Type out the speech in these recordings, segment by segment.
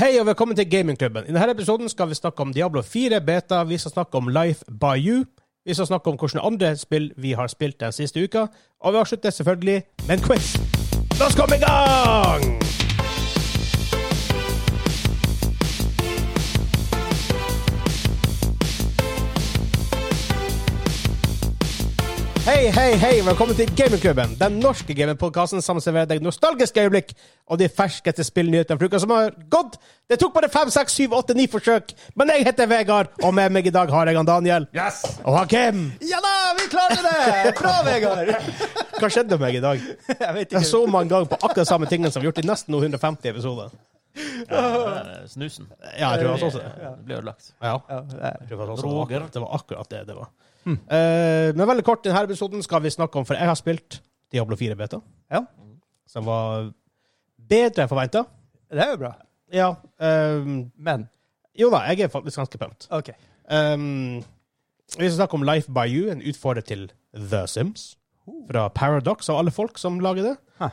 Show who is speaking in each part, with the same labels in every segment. Speaker 1: Hei og velkommen til Gamingklubben. I denne episoden skal vi snakke om Diablo 4 beta, vi skal snakke om Life by You, vi skal snakke om hvilke andre spill vi har spilt den siste uka, og vi avslutter selvfølgelig med en quiz. La oss komme i gang! Hei, hei, hei, velkommen til Gamingklubben, den norske gamingpodkasten som serverer deg nostalgiske øyeblikk og de ferskeste spillnyhetene fra uka som har gått. Det tok bare fem, seks, syv, åtte, ni forsøk, men jeg heter Vegard, og med meg i dag har jeg han Daniel.
Speaker 2: Yes!
Speaker 1: Og Hakim!
Speaker 3: Ja da, vi klarte det! Bra, Vegard!
Speaker 1: Hva skjedde med meg i dag?
Speaker 3: Jeg vet
Speaker 1: Jeg
Speaker 3: ikke.
Speaker 1: så mange ganger på akkurat samme tingene som vi har gjort i nesten 150 episoder.
Speaker 2: Eh, Snusen.
Speaker 1: Ja, jeg tror det var sånn.
Speaker 2: Ja, det ble ødelagt.
Speaker 1: Ja.
Speaker 3: Ja,
Speaker 1: Jeg
Speaker 3: det-
Speaker 1: tror det var sånn.
Speaker 2: Roger.
Speaker 1: Det var akkurat det det var. Eh, men veldig kort, i denne episoden skal vi snakke om, for jeg har spilt Diablo 4 beta,
Speaker 3: ja,
Speaker 1: som var bedre enn forventa.
Speaker 3: det er jo bra.
Speaker 1: Ja. ehm,
Speaker 3: Men
Speaker 1: jo da, jeg er faktisk ganske pumped.
Speaker 3: OK.
Speaker 1: Ehm, vi skal snakke om Life by You, en utfordrer til The Sims. Fra Paradox, av alle folk som lager det.
Speaker 3: Hæ.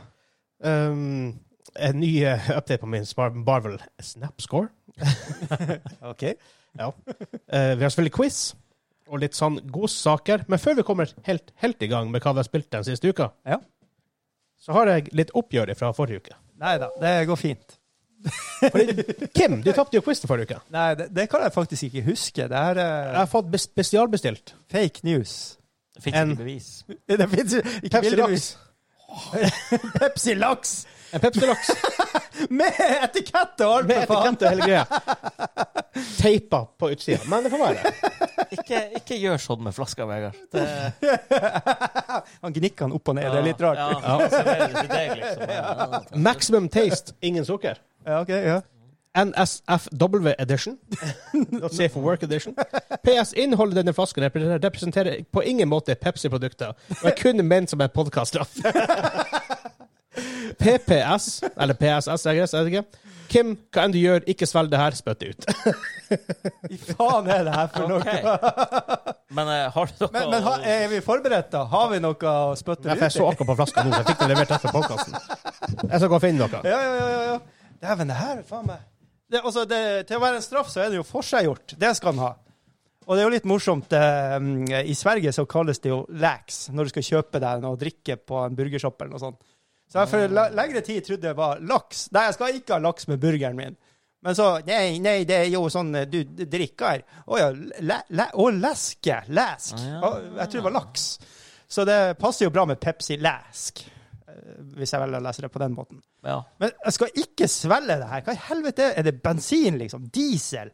Speaker 1: Ehm, en ny eh, update på min Spar- Marvel Snapscore.
Speaker 3: ok.
Speaker 1: Ja. Eh, vi har selvfølgelig quiz og litt sånn godsaker. Men før vi kommer helt, helt i gang med hva vi har spilt den siste uka,
Speaker 3: Ja.
Speaker 1: så har jeg litt oppgjør fra forrige uke.
Speaker 3: Nei da, det går fint.
Speaker 1: Fordi, Kim, du tapte jo quizen forrige uke.
Speaker 3: Nei, det, det kan jeg faktisk ikke huske. Det er
Speaker 1: Jeg
Speaker 3: eh,
Speaker 1: har fått bes- spesialbestilt.
Speaker 3: fake news.
Speaker 2: Fikk
Speaker 1: En-
Speaker 2: ikke bevis.
Speaker 3: Det fins ikke
Speaker 1: Pepsi
Speaker 3: bildebevis. Pepsi Laks!
Speaker 1: En Pepsi Laks.
Speaker 3: Med etikett og alt!
Speaker 1: Med
Speaker 3: for faen.
Speaker 1: etikett og hele greia. Teipa på utsida. Men det får være.
Speaker 2: Ikke, ikke gjør sånn med flaska, Vegard. Det,
Speaker 3: Han gnikker han opp og ned. Det er litt rart.
Speaker 2: Ja, han serverer det til deg, liksom. Ja.
Speaker 1: Maximum taste, ingen sukker.
Speaker 3: Ja, ok, ja.
Speaker 1: NSFW edition. Not safe for work edition. PS. Innholdet i denne flasken repre- representerer på ingen måte Pepsi-produkter, og er kun ment som en podkaststraff. PPS, eller PSS, jeg vet jeg vet ikke. Kim, hva enn du gjør, ikke svelg det her, spytt det ut.
Speaker 3: I faen er det her for noe?
Speaker 2: Ok. Men eh, har du noe
Speaker 3: Men, men ha- er vi forberedt, da? Har vi noe å spytte
Speaker 1: Nei, for
Speaker 3: ut?
Speaker 1: Jeg så akkurat på flaska nå, så jeg fikk det levert etter podkasten. Jeg skal gå og finne noe.
Speaker 3: Ja, ja, ja. ja, ja. Dæven, det her er faen meg det, altså, det, Til å være en straff, så er det jo forseggjort. Det skal han ha. Og det er jo litt morsomt. eh, mm, I Sverige så kalles det jo lax når du skal kjøpe deg noe å drikke på en burgershopp eller noe sånt. Så jeg for le- lengre tid trodde jeg var laks. Nei, jeg skal ikke ha laks med burgeren min. Men så Nei, nei, det er jo sånn eh, du d- drikker. Å ja. Læ, læ, å, leske. Læsk.
Speaker 2: Ja.
Speaker 3: Å, Jeg tror det var laks. Så det passer jo bra med Pepsi Læsk, eh, hvis jeg velger å lese det på den måten.
Speaker 2: Ja.
Speaker 3: Men jeg skal ikke svelge det her. Hva i helvete? Er det bensin, liksom? Diesel?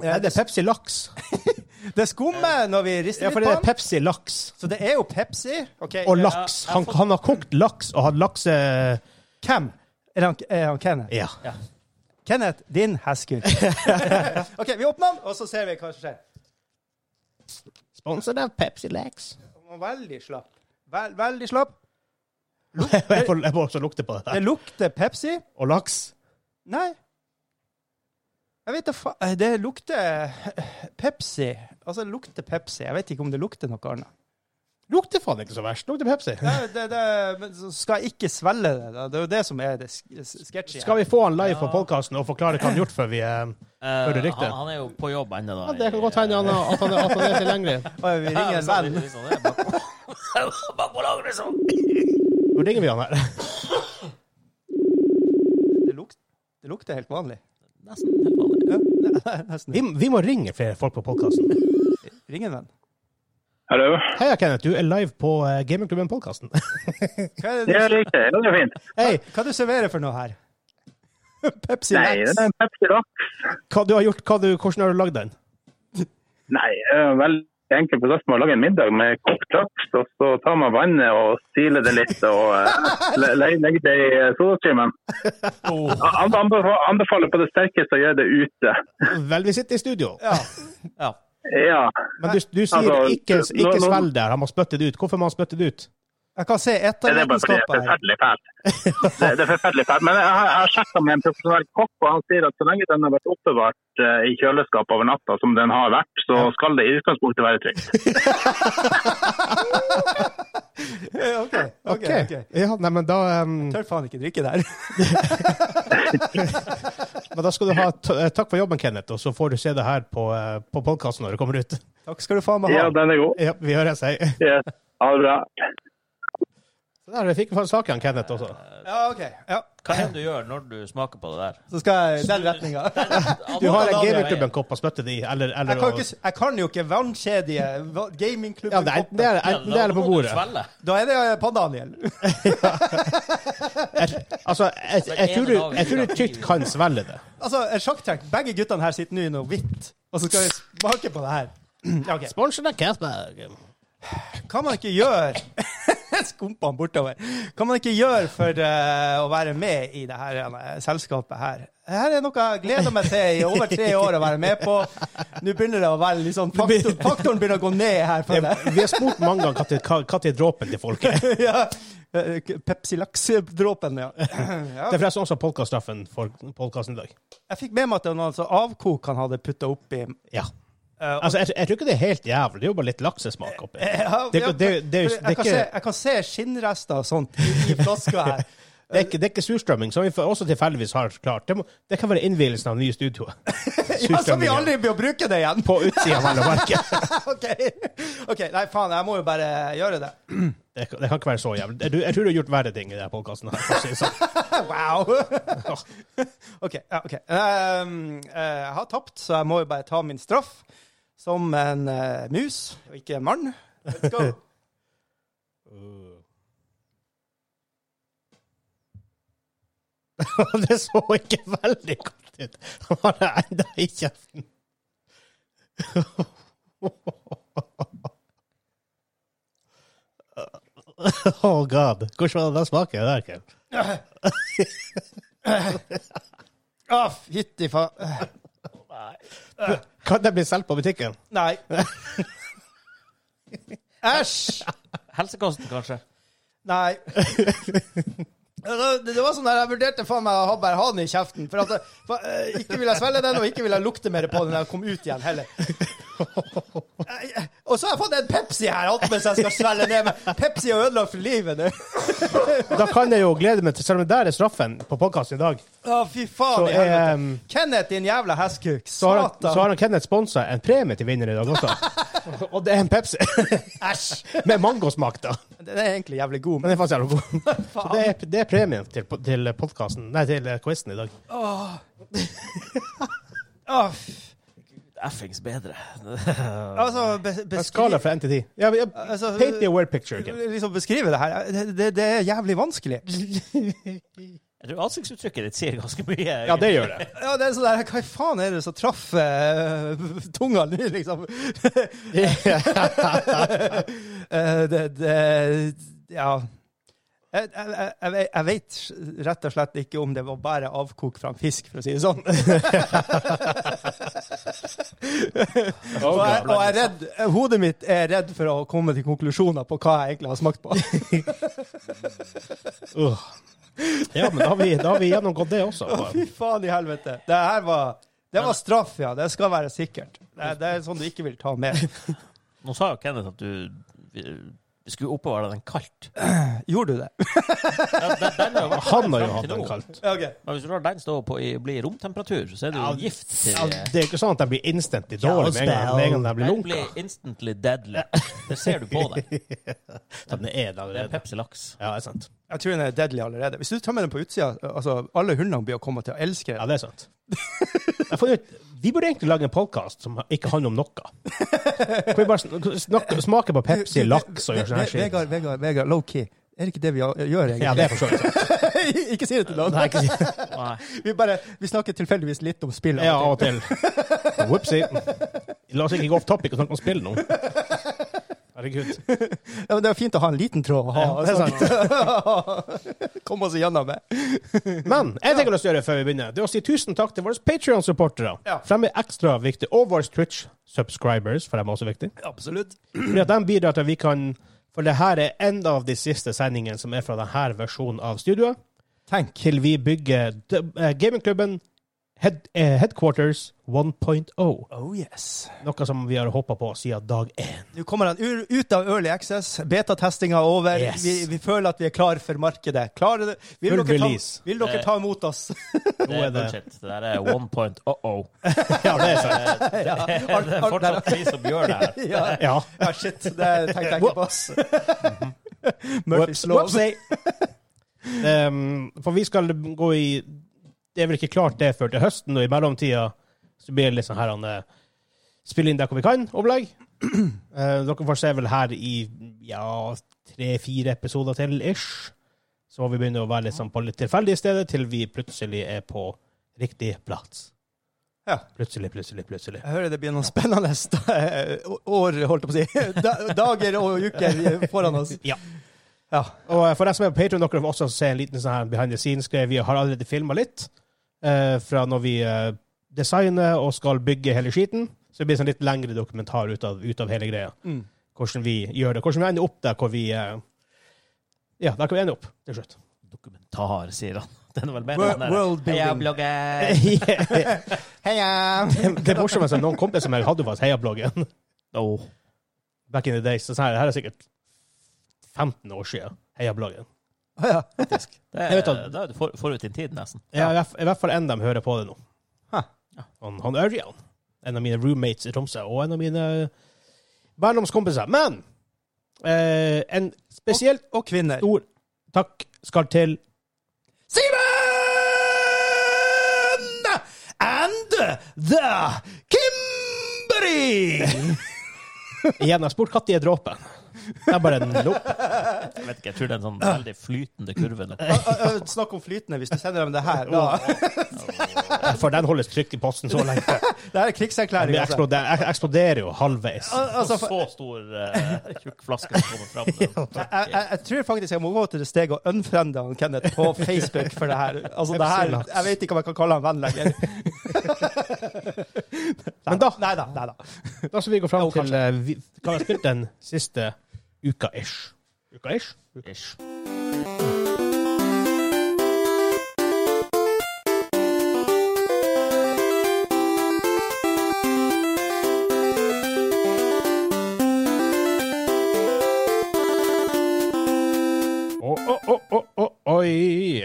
Speaker 1: Er det Pepsi Laks?
Speaker 3: Det skummer når vi rister
Speaker 1: Ja, for
Speaker 3: litt
Speaker 1: det
Speaker 3: på
Speaker 1: er
Speaker 3: den.
Speaker 1: Pepsi Laks.
Speaker 3: Så det er jo Pepsi. Ok,
Speaker 1: Og
Speaker 3: eh,
Speaker 1: laks. Han, han har kokt laks og hatt lakse...
Speaker 3: Hvem? Er han, er han Kenneth?
Speaker 1: Ja.
Speaker 3: Kenneth, din heskur. OK, vi åpner den, og så ser vi hva som skjer.
Speaker 1: Sponset av Pepsi Laks.
Speaker 3: Han var Veldig slapp. Vel, veldig slapp.
Speaker 1: Jeg får, jeg får også lukte på det.
Speaker 3: Det
Speaker 1: der.
Speaker 3: lukter Pepsi.
Speaker 1: Og laks.
Speaker 3: Nei. Jeg vet da faen Det lukter Pepsi. Altså, det lukter Pepsi. Jeg vet ikke om det lukter noe annet.
Speaker 1: Lukter faen ikke så verst. Lukter Pepsi.
Speaker 3: Nei, det, det, men så skal jeg ikke svelge det. Da. Det er jo det som er det sk- s- sketchy. her.
Speaker 1: Skal vi få han live
Speaker 2: Ja.
Speaker 1: på podkasten og forklare hva han har gjort før vi eh,
Speaker 2: Eh,
Speaker 1: Hører du riktig?
Speaker 2: han, han er jo på jobb ennå, da.
Speaker 1: ja, Det kan godt hende han har- at han at han er tilgjengelig.
Speaker 3: Oi, vi ringer en
Speaker 2: Ja,
Speaker 3: venn.
Speaker 2: men så er det liksom det. Bare- Bare på lag, liksom.
Speaker 1: Nå ringer vi han her.
Speaker 3: Det, luk, det lukter helt vanlig.
Speaker 2: Nesten helt vanlig.
Speaker 3: Nesten.
Speaker 1: Vi, vi må ringe flere folk på podkasten.
Speaker 3: Ring en venn.
Speaker 4: Hallo?
Speaker 1: Heia, Kenneth. Du er live på eh, Gamingklubben-podkasten.
Speaker 3: Hva er
Speaker 4: Det
Speaker 3: det
Speaker 4: er riktig. Ja, det er fint.
Speaker 1: Hei,
Speaker 3: du, hva du serverer for noe her? Pepsi
Speaker 4: Nei, det
Speaker 3: Max.
Speaker 4: er en Pepsi Laks.
Speaker 1: hva du har gjort, hva du, hvordan har du lagd den?
Speaker 4: Nei, det er en veldig enkel prosess med å lage en middag med kokt laks, og så tar man vannet og siler det litt og eh, le- le- legger det i eh, sodastreamen. An- anbefa- Anbefaler på det sterkeste å gjøre det ute.
Speaker 1: Vel, vi sitter i studio,
Speaker 3: Ja.
Speaker 2: Ja.
Speaker 4: Ja,
Speaker 1: men du, du sier
Speaker 4: Altså,
Speaker 1: ikke,
Speaker 4: nå-
Speaker 1: ikke
Speaker 4: nå-
Speaker 1: svelg der. Han må spytte det ut. Hvorfor må han spytte det ut?
Speaker 3: Jeg kan se
Speaker 4: det er bare fordi det er
Speaker 3: etteregenskaper her.
Speaker 4: forferdelig fælt. Det, det er forferdelig fælt. Men jeg har, jeg har sjekket med en profesjonell kokk, og han sier at så lenge den har vært oppbevart eh, i kjøleskap over natta, som den har vært, så skal det i utgangspunktet være trygt.
Speaker 3: Ja, OK. ok, ok.
Speaker 1: Ja, nei, men da eh,
Speaker 3: Tør faen ikke drikke der.
Speaker 1: Men da skal du ha t eh, takk for jobben, Kenneth, og så får du se det her på, eh, på podkasten når det kommer ut.
Speaker 3: Takk skal du faen meg ha.
Speaker 4: Ja, den er god.
Speaker 1: Ja, vi høres, hei.
Speaker 4: Yes. Ha det bra.
Speaker 1: Så der fikk vi faktisk tak i han Kenneth også.
Speaker 3: Ja, OK. Ja.
Speaker 2: Hva er det du gjør når du smaker på det der?
Speaker 3: Så skal jeg i den retninga.
Speaker 1: Du har en
Speaker 2: Advokat Adrian Eie.
Speaker 1: gamingklubben-kopp og spytter det i, eller, eller
Speaker 3: Jeg kan, jo ikke, jeg kan jo ikke vannkjedige
Speaker 1: Ja, det
Speaker 3: va-
Speaker 1: er, det
Speaker 3: gamingklubben.
Speaker 1: er,
Speaker 2: Ja,
Speaker 1: enten det er
Speaker 2: da
Speaker 1: det på
Speaker 2: må du
Speaker 1: bordet.
Speaker 2: svelge.
Speaker 3: Da er det eh, Pan-Daniel.
Speaker 1: Jeg- Altså, jeg, jeg, tror du, jeg tror du trygt kan svelge det.
Speaker 3: Altså, en sjakktrekk. Begge guttene her sitter nå i noe hvitt, og så skal vi smake på det her. Ja, ok.
Speaker 1: Sponsen av Casberg.
Speaker 3: Hva man ikke gjør Skumpa han bortover. Hva man ikke gjør for eh, å være med i det her eh, selskapet her. Her er noe jeg gleder meg til i over tre år å være med på. Nå begynner det å være litt sånn faktor, Faktoren begynner å gå ned her.
Speaker 1: Vi
Speaker 3: føler jeg.
Speaker 1: har spurt mange ganger hva til- hva hva til dråpen til folket.
Speaker 3: ja. Eh, Pepsi Laks-dråpen, ja. ja.
Speaker 1: Det er forresten også podkaststraffen for podkasten i dag.
Speaker 3: Jeg fikk med meg at det var noe sånn avkok han hadde putta oppi.
Speaker 1: Ja.
Speaker 3: eh, og-
Speaker 1: Altså, jeg, jeg tror ikke det er helt jævlig. Det er jo bare litt laksesmak oppi.
Speaker 3: Ja,
Speaker 1: det er
Speaker 3: ja,
Speaker 1: ikke- det er- det er-
Speaker 3: for
Speaker 1: det er
Speaker 3: jeg, kan
Speaker 1: ikke-
Speaker 3: se, jeg kan se skinnrester og sånt i, i flaska her.
Speaker 1: Det er ikke, det er ikke surstrømming, som vi for- også tilfeldigvis har klart. Det, må, det kan være innvielsen av nye studioer.
Speaker 3: ja, så vi
Speaker 1: Surstrømming
Speaker 3: aldri blir å bruke det igjen!
Speaker 1: På utsida av verket.
Speaker 3: OK, Ok, nei, faen, jeg må jo bare gjøre det.
Speaker 1: Det, kan- det kan ikke være så jævlig. Jeg, tror- jeg tror du har gjort verre ting i denne podkasten. sånn.
Speaker 3: Wow! OK. ja, ok. Ehm, eh, jeg har tapt, så jeg må jo bare ta min straff som en eh, mus, og ikke en mann. Let's go.
Speaker 1: Det så ikke veldig godt ut. Han har det enda i kjeften. Oh god. Hvordan var det den smaken der, Ken?
Speaker 3: Å, Ah, fytti faen.
Speaker 1: Kan det bli solgt på butikken?
Speaker 3: Nei. Æsj!
Speaker 2: Helsekosten, kanskje?
Speaker 3: Nei. Det, det var sånn der, Jeg vurderte faen meg å ha bare ha den i kjeften. For at jeg, for, eh, Ikke vil jeg svelge den, og ikke vil jeg lukte mer på den når jeg kom ut igjen heller. Eh, Og så har jeg fått en Pepsi her attmed, så jeg skal svelge ned. Men Pepsi har ødelagt for livet nå.
Speaker 1: Da kan jeg jo glede meg til Selv om der er straffen på podkasten i dag,
Speaker 3: Å, fy faen.
Speaker 1: Så,
Speaker 3: i helvete.
Speaker 1: ehm,
Speaker 3: Kenneth, din jævla hestkuk.
Speaker 1: så har, han, så har
Speaker 3: Satan.
Speaker 1: han Kenneth sponsa en premie til vinner i dag også. Og det er en Pepsi
Speaker 3: Æsj.
Speaker 1: med mangosmak, da.
Speaker 3: Den er egentlig jævlig god.
Speaker 1: Men det er faktisk jævlig god. Så det er, det er premien til, til podcasten, nei, til eh, quizen i dag.
Speaker 3: Men, Å, f-
Speaker 2: Effings bedre.
Speaker 3: altså, be,
Speaker 1: En
Speaker 3: beskriv
Speaker 1: skala fra 1 til 10. Ja, ja,
Speaker 3: Altså,
Speaker 1: paint me a word picture. Kim.
Speaker 3: liksom beskrive det her. Det, det, det er jævlig vanskelig.
Speaker 2: Jeg tror ansiktsuttrykket ditt sier ganske mye.
Speaker 1: Ja, det gjør det.
Speaker 3: Ja, det er sånn der, Hva faen er det som traff eh, tunga nå, liksom? Eh, det, det Ja. Jeg, jeg, jeg, ve- jeg vet rett og slett ikke om det var bare avkok fra en fisk, for å si det sånn. og, jeg, og jeg er redd, hodet mitt er redd for å komme til konklusjoner på hva jeg egentlig har smakt på.
Speaker 1: Uh. Ja, men da har, vi, da har vi gjennomgått det også.
Speaker 3: Fy faen i helvete. Det her var, det var straff, ja. Det skal være sikkert. Det, det er sånn du ikke vil ta med.
Speaker 2: Nå sa jo Kenneth at du vi skulle oppbevare den kaldt.
Speaker 3: Gjorde du det?
Speaker 2: Ja, den, den har jo vært
Speaker 1: Han har jo
Speaker 2: frem
Speaker 1: hatt
Speaker 2: til
Speaker 1: den
Speaker 2: nå.
Speaker 1: kaldt.
Speaker 3: Ok.
Speaker 2: Men hvis du lar den stå på i bli romtemperatur, så er det jo gift
Speaker 1: Ja,
Speaker 2: til eh,
Speaker 1: det er jo ikke sånn at de blir instantly dårlig med en gang- med en gang de blir
Speaker 2: Den
Speaker 1: lunka.
Speaker 2: blir instantly deadly. Det ser du på den.
Speaker 1: Den er det
Speaker 2: Det er
Speaker 1: allerede.
Speaker 2: Pepsi Laks.
Speaker 1: Ja, det er sant.
Speaker 3: Jeg tror den er deadly allerede. Hvis du tar med den på utsida, altså alle hundene blir å komme til å elske
Speaker 1: Ja,
Speaker 3: den.
Speaker 1: det er sant. Jeg har funnet ut, vi burde egentlig lage en podkast som ikke handler om noe. Kan vi bare sn- snakke, smake på Pepsi, laks og gjøre sånn her shit?
Speaker 3: Vegard, Vegard, Vegard, low-key. Er det ikke det vi gjør, egentlig?
Speaker 1: Ja, det er for så vidt sant.
Speaker 3: ikke si det til noen.
Speaker 1: Nei, ikke-
Speaker 2: Nei.
Speaker 3: Vi, bare, vi snakker tilfeldigvis litt om spill.
Speaker 1: Ja, av og til. Whoopsie. La oss ikke gå off topic og snakke om spill nå. Herregud.
Speaker 3: Ja, men det er fint å ha en liten tråd å ha.
Speaker 1: Ja, det er
Speaker 3: sant. Kom oss igjennom det.
Speaker 1: Men jeg tenker å gjøre før vi begynner, det er å si tusen takk til våre Patrion-supportere.
Speaker 3: Ja.
Speaker 1: For de er ekstra viktige. Og våre Twitch-subscribers, for de er også viktige.
Speaker 3: Absolutt.
Speaker 1: Fordi at de bidrar til at vi kan For det her er en av de siste sendingene som er fra denne versjonen av studioet.
Speaker 3: Tenk.
Speaker 1: Til vi bygger d- eh, gamingklubben Head, eh, headquarters 1.0,
Speaker 3: Oh yes.
Speaker 1: noe som vi har håpa på siden dag én.
Speaker 3: Nå kommer han ur- ut av early access. Betatestinga er over.
Speaker 1: Yes.
Speaker 3: Vi, vi føler at vi er klar for markedet. Klarer det. Vil,
Speaker 1: Full
Speaker 3: dere ta,
Speaker 1: release.
Speaker 3: vil dere
Speaker 2: Eh.
Speaker 3: ta imot oss?
Speaker 2: Det er
Speaker 1: er det-
Speaker 2: bullshit. Det der er one point oh-oh.
Speaker 1: Ja, det er sant.
Speaker 3: ja. Ar,
Speaker 2: Det er
Speaker 3: ar, der,
Speaker 2: fortsatt vi som gjør det her.
Speaker 3: ja.
Speaker 1: Ja.
Speaker 3: ja, shit. Det tenkte jeg ikke på. ass. Murphys lov.
Speaker 1: Whoopsie. Ehm, for vi skal gå i Det er vel ikke klart det før til høsten, og i mellomtida så blir det litt sånn her han eh, Spille inn der hvor vi kan, opplegg. Eh, dere får se vel her i ja, tre-fire episoder til ish. Så må vi begynne å være litt sånn på litt tilfeldige steder til vi plutselig er på riktig plass.
Speaker 3: Ja.
Speaker 1: Plutselig, plutselig, plutselig.
Speaker 3: Jeg hører det blir noen spennende st- år, holdt jeg på å si. Da- Dager og uker foran oss.
Speaker 1: Ja.
Speaker 3: Ja.
Speaker 1: Og eh, for deg som er på Patreon, dere får også se en liten sånn her behind the scenes-greie. Vi har allerede filma litt eh, fra når vi eh, designer og skal bygge hele skiten. Så det blir en sånn litt lengre dokumentar ut av, ut av hele greia.
Speaker 3: Mm.
Speaker 1: Hvordan vi gjør det. Hvordan vi ender opp der hvor vi eh, Ja, der hvor vi ender opp til slutt.
Speaker 2: Dokumentar, sier han. Den er vel mer
Speaker 3: Wor-
Speaker 2: den der,
Speaker 3: world building.
Speaker 2: «Heia, blogger!»
Speaker 1: det
Speaker 3: Heia!
Speaker 1: det morsomste noen kompiser med meg hadde faktisk Heia-bloggen
Speaker 2: Åh.
Speaker 1: back in the days. Så sånn her, det her er sikkert 15 år siden. Heia-bloggen.
Speaker 3: Ja.
Speaker 2: Det
Speaker 1: Jeg vet
Speaker 2: er,
Speaker 1: at-
Speaker 2: da er du for, forut din tid, nesten.
Speaker 1: Ja. I, hvert, fall- I hvert fall en av dem hører på det nå.
Speaker 3: Hæ.
Speaker 1: Han, han Ørjan. En av mine roommates i Tromsø, og en av mine eh, barndomskompiser. Men eh, en spesielt
Speaker 3: Og kvinner.
Speaker 1: stor takk skal til
Speaker 3: Simen and the Kimberly!
Speaker 1: Igjen, jeg spurte når er dråpen. Jeg bare nope.
Speaker 2: Jeg vet ikke, jeg tror det er en sånn veldig flytende kurve nå.
Speaker 3: Snakk om flytende hvis du sender dem det her. Da.
Speaker 1: For den holdes trygt i posten så lenge.
Speaker 3: Det her er krigserklæring.
Speaker 1: Vi
Speaker 3: Altså.
Speaker 1: eksploderer, jeg eksploderer jo halvveis.
Speaker 3: Al- Altså, for-
Speaker 2: så stor eh, tjukk flaske som kommer fram.
Speaker 3: jeg, jeg, jeg tror faktisk jeg må gå til det steget og unfriende han Kenneth på Facebook for det her. Altså, det her jeg vet ikke om jeg kan kalle han venn lenger.
Speaker 1: Men da,
Speaker 3: Nei da. Nei da.
Speaker 1: da skal vi gå fram til eh, vi, Hva har vi spilt den siste uka-ish? Uka-ish?
Speaker 2: Ish.
Speaker 1: Å, å, å, å, å, oi.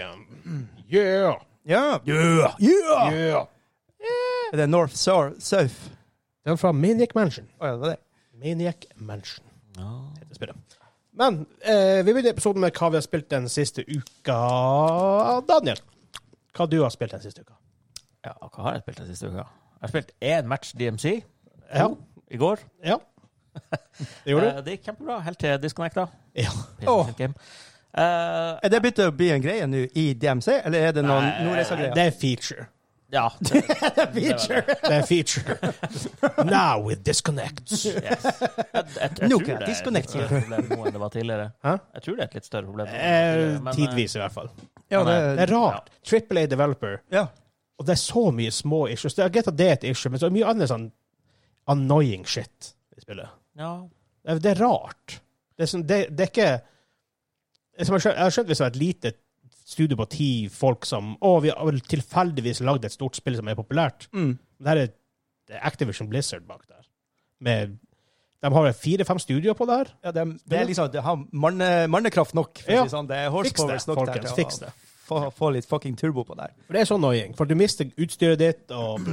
Speaker 1: Yeah.
Speaker 3: Ja. Ja.
Speaker 1: Yeah.
Speaker 3: Er det North Shore South?
Speaker 1: Den fra Maniac Mansion.
Speaker 3: Å ja, det var det.
Speaker 1: Maniac Mansion heter spillet. Men eh, vi begynner episoden med hva vi har spilt den siste uka. Daniel, hva du har spilt den siste uka?
Speaker 2: Ja, hva har jeg spilt den siste uka? Jeg har spilt én match DMC
Speaker 1: Ja.
Speaker 2: i går.
Speaker 1: ja. Det gjorde du?
Speaker 2: Eh, det gikk kjempebra, helt til jeg disconnecta.
Speaker 1: Ja.
Speaker 3: Åh.
Speaker 2: Game. Eh,
Speaker 3: Er det begynt å bli en greie nå i DMC, eller er det noen
Speaker 2: Nei,
Speaker 3: Nordreisa-greier?
Speaker 1: Det er feature.
Speaker 2: ja. Det, det, det,
Speaker 1: Det er feature. Now with disconnects. Eh,
Speaker 2: yes. jeg, jeg,
Speaker 3: Nå
Speaker 2: jeg tror
Speaker 3: kan jeg
Speaker 2: det er et
Speaker 3: disconnecte.
Speaker 2: større problem nå enn det var tidligere.
Speaker 1: Hæ?
Speaker 2: Jeg tror det er et litt større problem. nå enn det var
Speaker 1: Eh,
Speaker 2: tidligere, men, eh,
Speaker 1: tidvis, i hvert fall.
Speaker 3: Ja,
Speaker 1: Det er rart. Triple A developer.
Speaker 3: Ja.
Speaker 1: Og det er så mye små issues. Det er greit at det er et issue, men så er det mye annet sånn annoying shit i spillet.
Speaker 2: Ja.
Speaker 1: Det er, det er rart. Det er, sånn, det, det er ikke det er som jeg, skjønner, jeg har skjønt hvis det var et lite studio på ti folk som Å, vi har vel tilfeldigvis lagd et stort spill som er populært.
Speaker 3: Mm.
Speaker 1: Det her er det er Activision Blizzard bak der. Med, de har vel fire-fem studioer på det her.
Speaker 3: Ja, det, det er liksom, det har manne, mannekraft nok, for å
Speaker 1: Ja.
Speaker 3: si sånn. Det er
Speaker 1: Fiks det,
Speaker 3: horsepower nok der
Speaker 1: folkens.
Speaker 3: til å
Speaker 1: Fiks det.
Speaker 3: Få, få litt fucking turbo på der.
Speaker 1: For det er så annoying. For du mister utstyret ditt og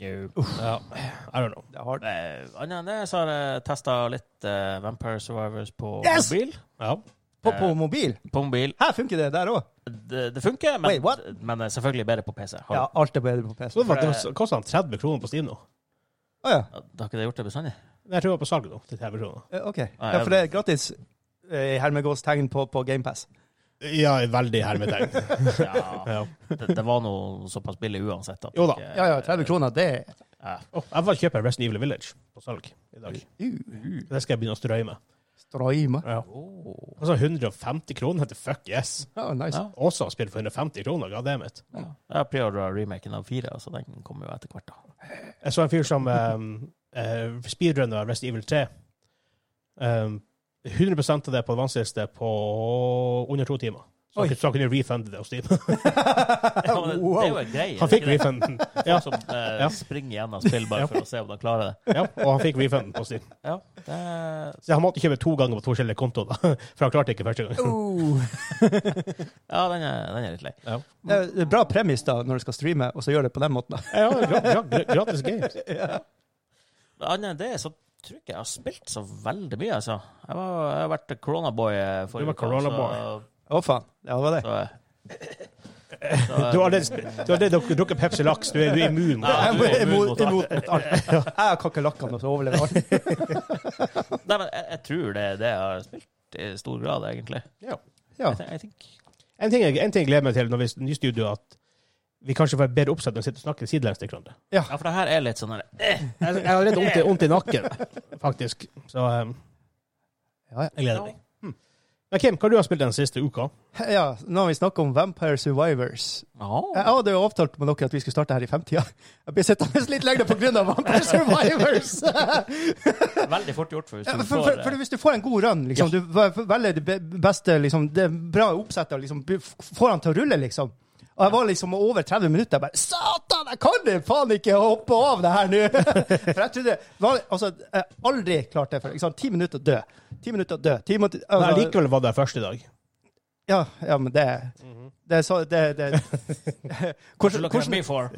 Speaker 2: Jo.
Speaker 1: ja, I don't know.
Speaker 3: Det er hardt.
Speaker 2: Eh, Annet enn det så har jeg testa litt eh, Vampire Survivors på
Speaker 3: Yes!
Speaker 2: mobil.
Speaker 1: Ja.
Speaker 3: På, på mobil?
Speaker 2: På mobil.
Speaker 3: Her funker det der òg.
Speaker 2: Det, det funker, men,
Speaker 3: Wait, what?
Speaker 2: men eh, selvfølgelig bedre på PC. Har
Speaker 3: Ja, alt er bedre på PC.
Speaker 1: Så
Speaker 3: Å
Speaker 1: det, var, det kosta han 30 kroner på Steam nå.
Speaker 3: ja.
Speaker 2: du- Har ikke det gjort det bestandig?
Speaker 1: Nei, Jeg tror det var på salg nå. til 30 kroner.
Speaker 3: Eh, OK. Ja, for det er gratis eh, i hermegåstegn på, på GamePass.
Speaker 1: Ja, veldig hermetegn.
Speaker 2: Ja,
Speaker 1: ja.
Speaker 2: det, det var nå såpass billig uansett. At
Speaker 1: Jo da.
Speaker 2: ikke-
Speaker 3: Ja ja, 30 kroner, det er
Speaker 2: Ja.
Speaker 1: Å, jeg var og kjøpte Resident Evil Village på salg i dag.
Speaker 3: uh,
Speaker 1: Det skal jeg begynne å strøye med.
Speaker 3: Straima.
Speaker 1: Ja.
Speaker 2: Åh.
Speaker 1: Altså 150 kroner til fuck yes.
Speaker 3: Ja, nice.
Speaker 2: Ja.
Speaker 1: Også har spilt for 150 kroner, goddammit.
Speaker 2: Ja. Jeg har preordra remaken av fire, så den kommer jo etter hvert. da.
Speaker 1: Jeg så en fyr som um, uh, speedrunner Rest Evil 3. Um, 100 av det på det vanskeligste på under to timer. Så han, kunne- så han kunne refunde det hos Steam.
Speaker 2: Ja, men det, det er jo en greie.
Speaker 1: Han fikk
Speaker 2: det er ikke
Speaker 1: refunden.
Speaker 2: det? Folk
Speaker 1: Ja.
Speaker 2: som eh,
Speaker 1: Ja.
Speaker 2: springer gjennom spill bare for å se om de klarer det.
Speaker 1: ja, og han fikk refunden på Steam.
Speaker 2: Ja, det er-
Speaker 1: Så han måtte kjøpe to ganger på to forskjellige kontoer, da. For han klarte ikke første gang.
Speaker 2: Oh.
Speaker 3: Uh.
Speaker 2: ja den, er, den er litt lei.
Speaker 1: Ja.
Speaker 3: Det er det er bra premiss da, når du skal streame, og så gjør det på den måten. da.
Speaker 1: Ja, gra gra gra gratis games.
Speaker 2: Men Annet enn det, så tror jeg ikke jeg har spilt så veldig mye, altså. Jeg, var, jeg har vært coronaboy eh,
Speaker 1: Du var
Speaker 2: forrige
Speaker 1: coronaboy.
Speaker 3: Å, faen. Ja, det var det.
Speaker 2: Så, så,
Speaker 1: Du har allerede sp- du har allerede drukket- drukket Pepsi Laks, du er, du er immun.
Speaker 2: Ja,
Speaker 3: Jeg
Speaker 2: du er
Speaker 3: er imot
Speaker 2: immun mot alt.
Speaker 3: imot alt. Jeg har kakerlakkene som overlever alt.
Speaker 2: Nei, men jeg, jeg tror det er det jeg har spilt i stor grad, egentlig.
Speaker 1: Ja.
Speaker 3: Ja.
Speaker 2: I, think- I think.
Speaker 1: En ting, jeg, en ting jeg gleder meg til når vi er nye studio, er at vi kanskje får et bedre oppsett når vi sitter og snakker sidelengs til hverandre.
Speaker 2: Ja, for det her er litt sånn her
Speaker 1: Jeg jeg har allerede vondt i- vondt i nakken, faktisk. Så um,
Speaker 3: Ja, ja.
Speaker 1: jeg gleder meg. Hmm. Men Kim, hva har du har spilt den siste uka?
Speaker 3: ja, nå har vi snakket om Vampire Survivors.
Speaker 2: Åh.
Speaker 3: Jeg hadde jo avtalt med dere at vi skulle starte her i femtida. Jeg blir sittende litt lenger på grunn av Vampire Survivors!
Speaker 2: Veldig fort gjort. For hvis
Speaker 3: Ja, men
Speaker 2: du
Speaker 3: for,
Speaker 1: eh,
Speaker 3: for, for
Speaker 2: får, eh,
Speaker 3: hvis du får en god run, liksom, du ve- velger det be- beste liksom, det bra oppsettet, og liksom, b- f- får han til å rulle, liksom. Og jeg var liksom over 30 minutter jeg bare Satan, jeg kan det faen ikke hoppe av det her nå! For jeg trodde var, Altså, jeg har aldri klart det liksom, før. Ikke sant? Ti minutter dø. Ti minutter dø. Ti minutter,
Speaker 1: Nei,
Speaker 3: altså,
Speaker 1: likevel var det først i dag.
Speaker 3: ja, ja, men det
Speaker 1: Mm-hmm.
Speaker 3: Det er så Det, det. Hvordan,
Speaker 2: Look at
Speaker 3: hvordan,
Speaker 2: me for.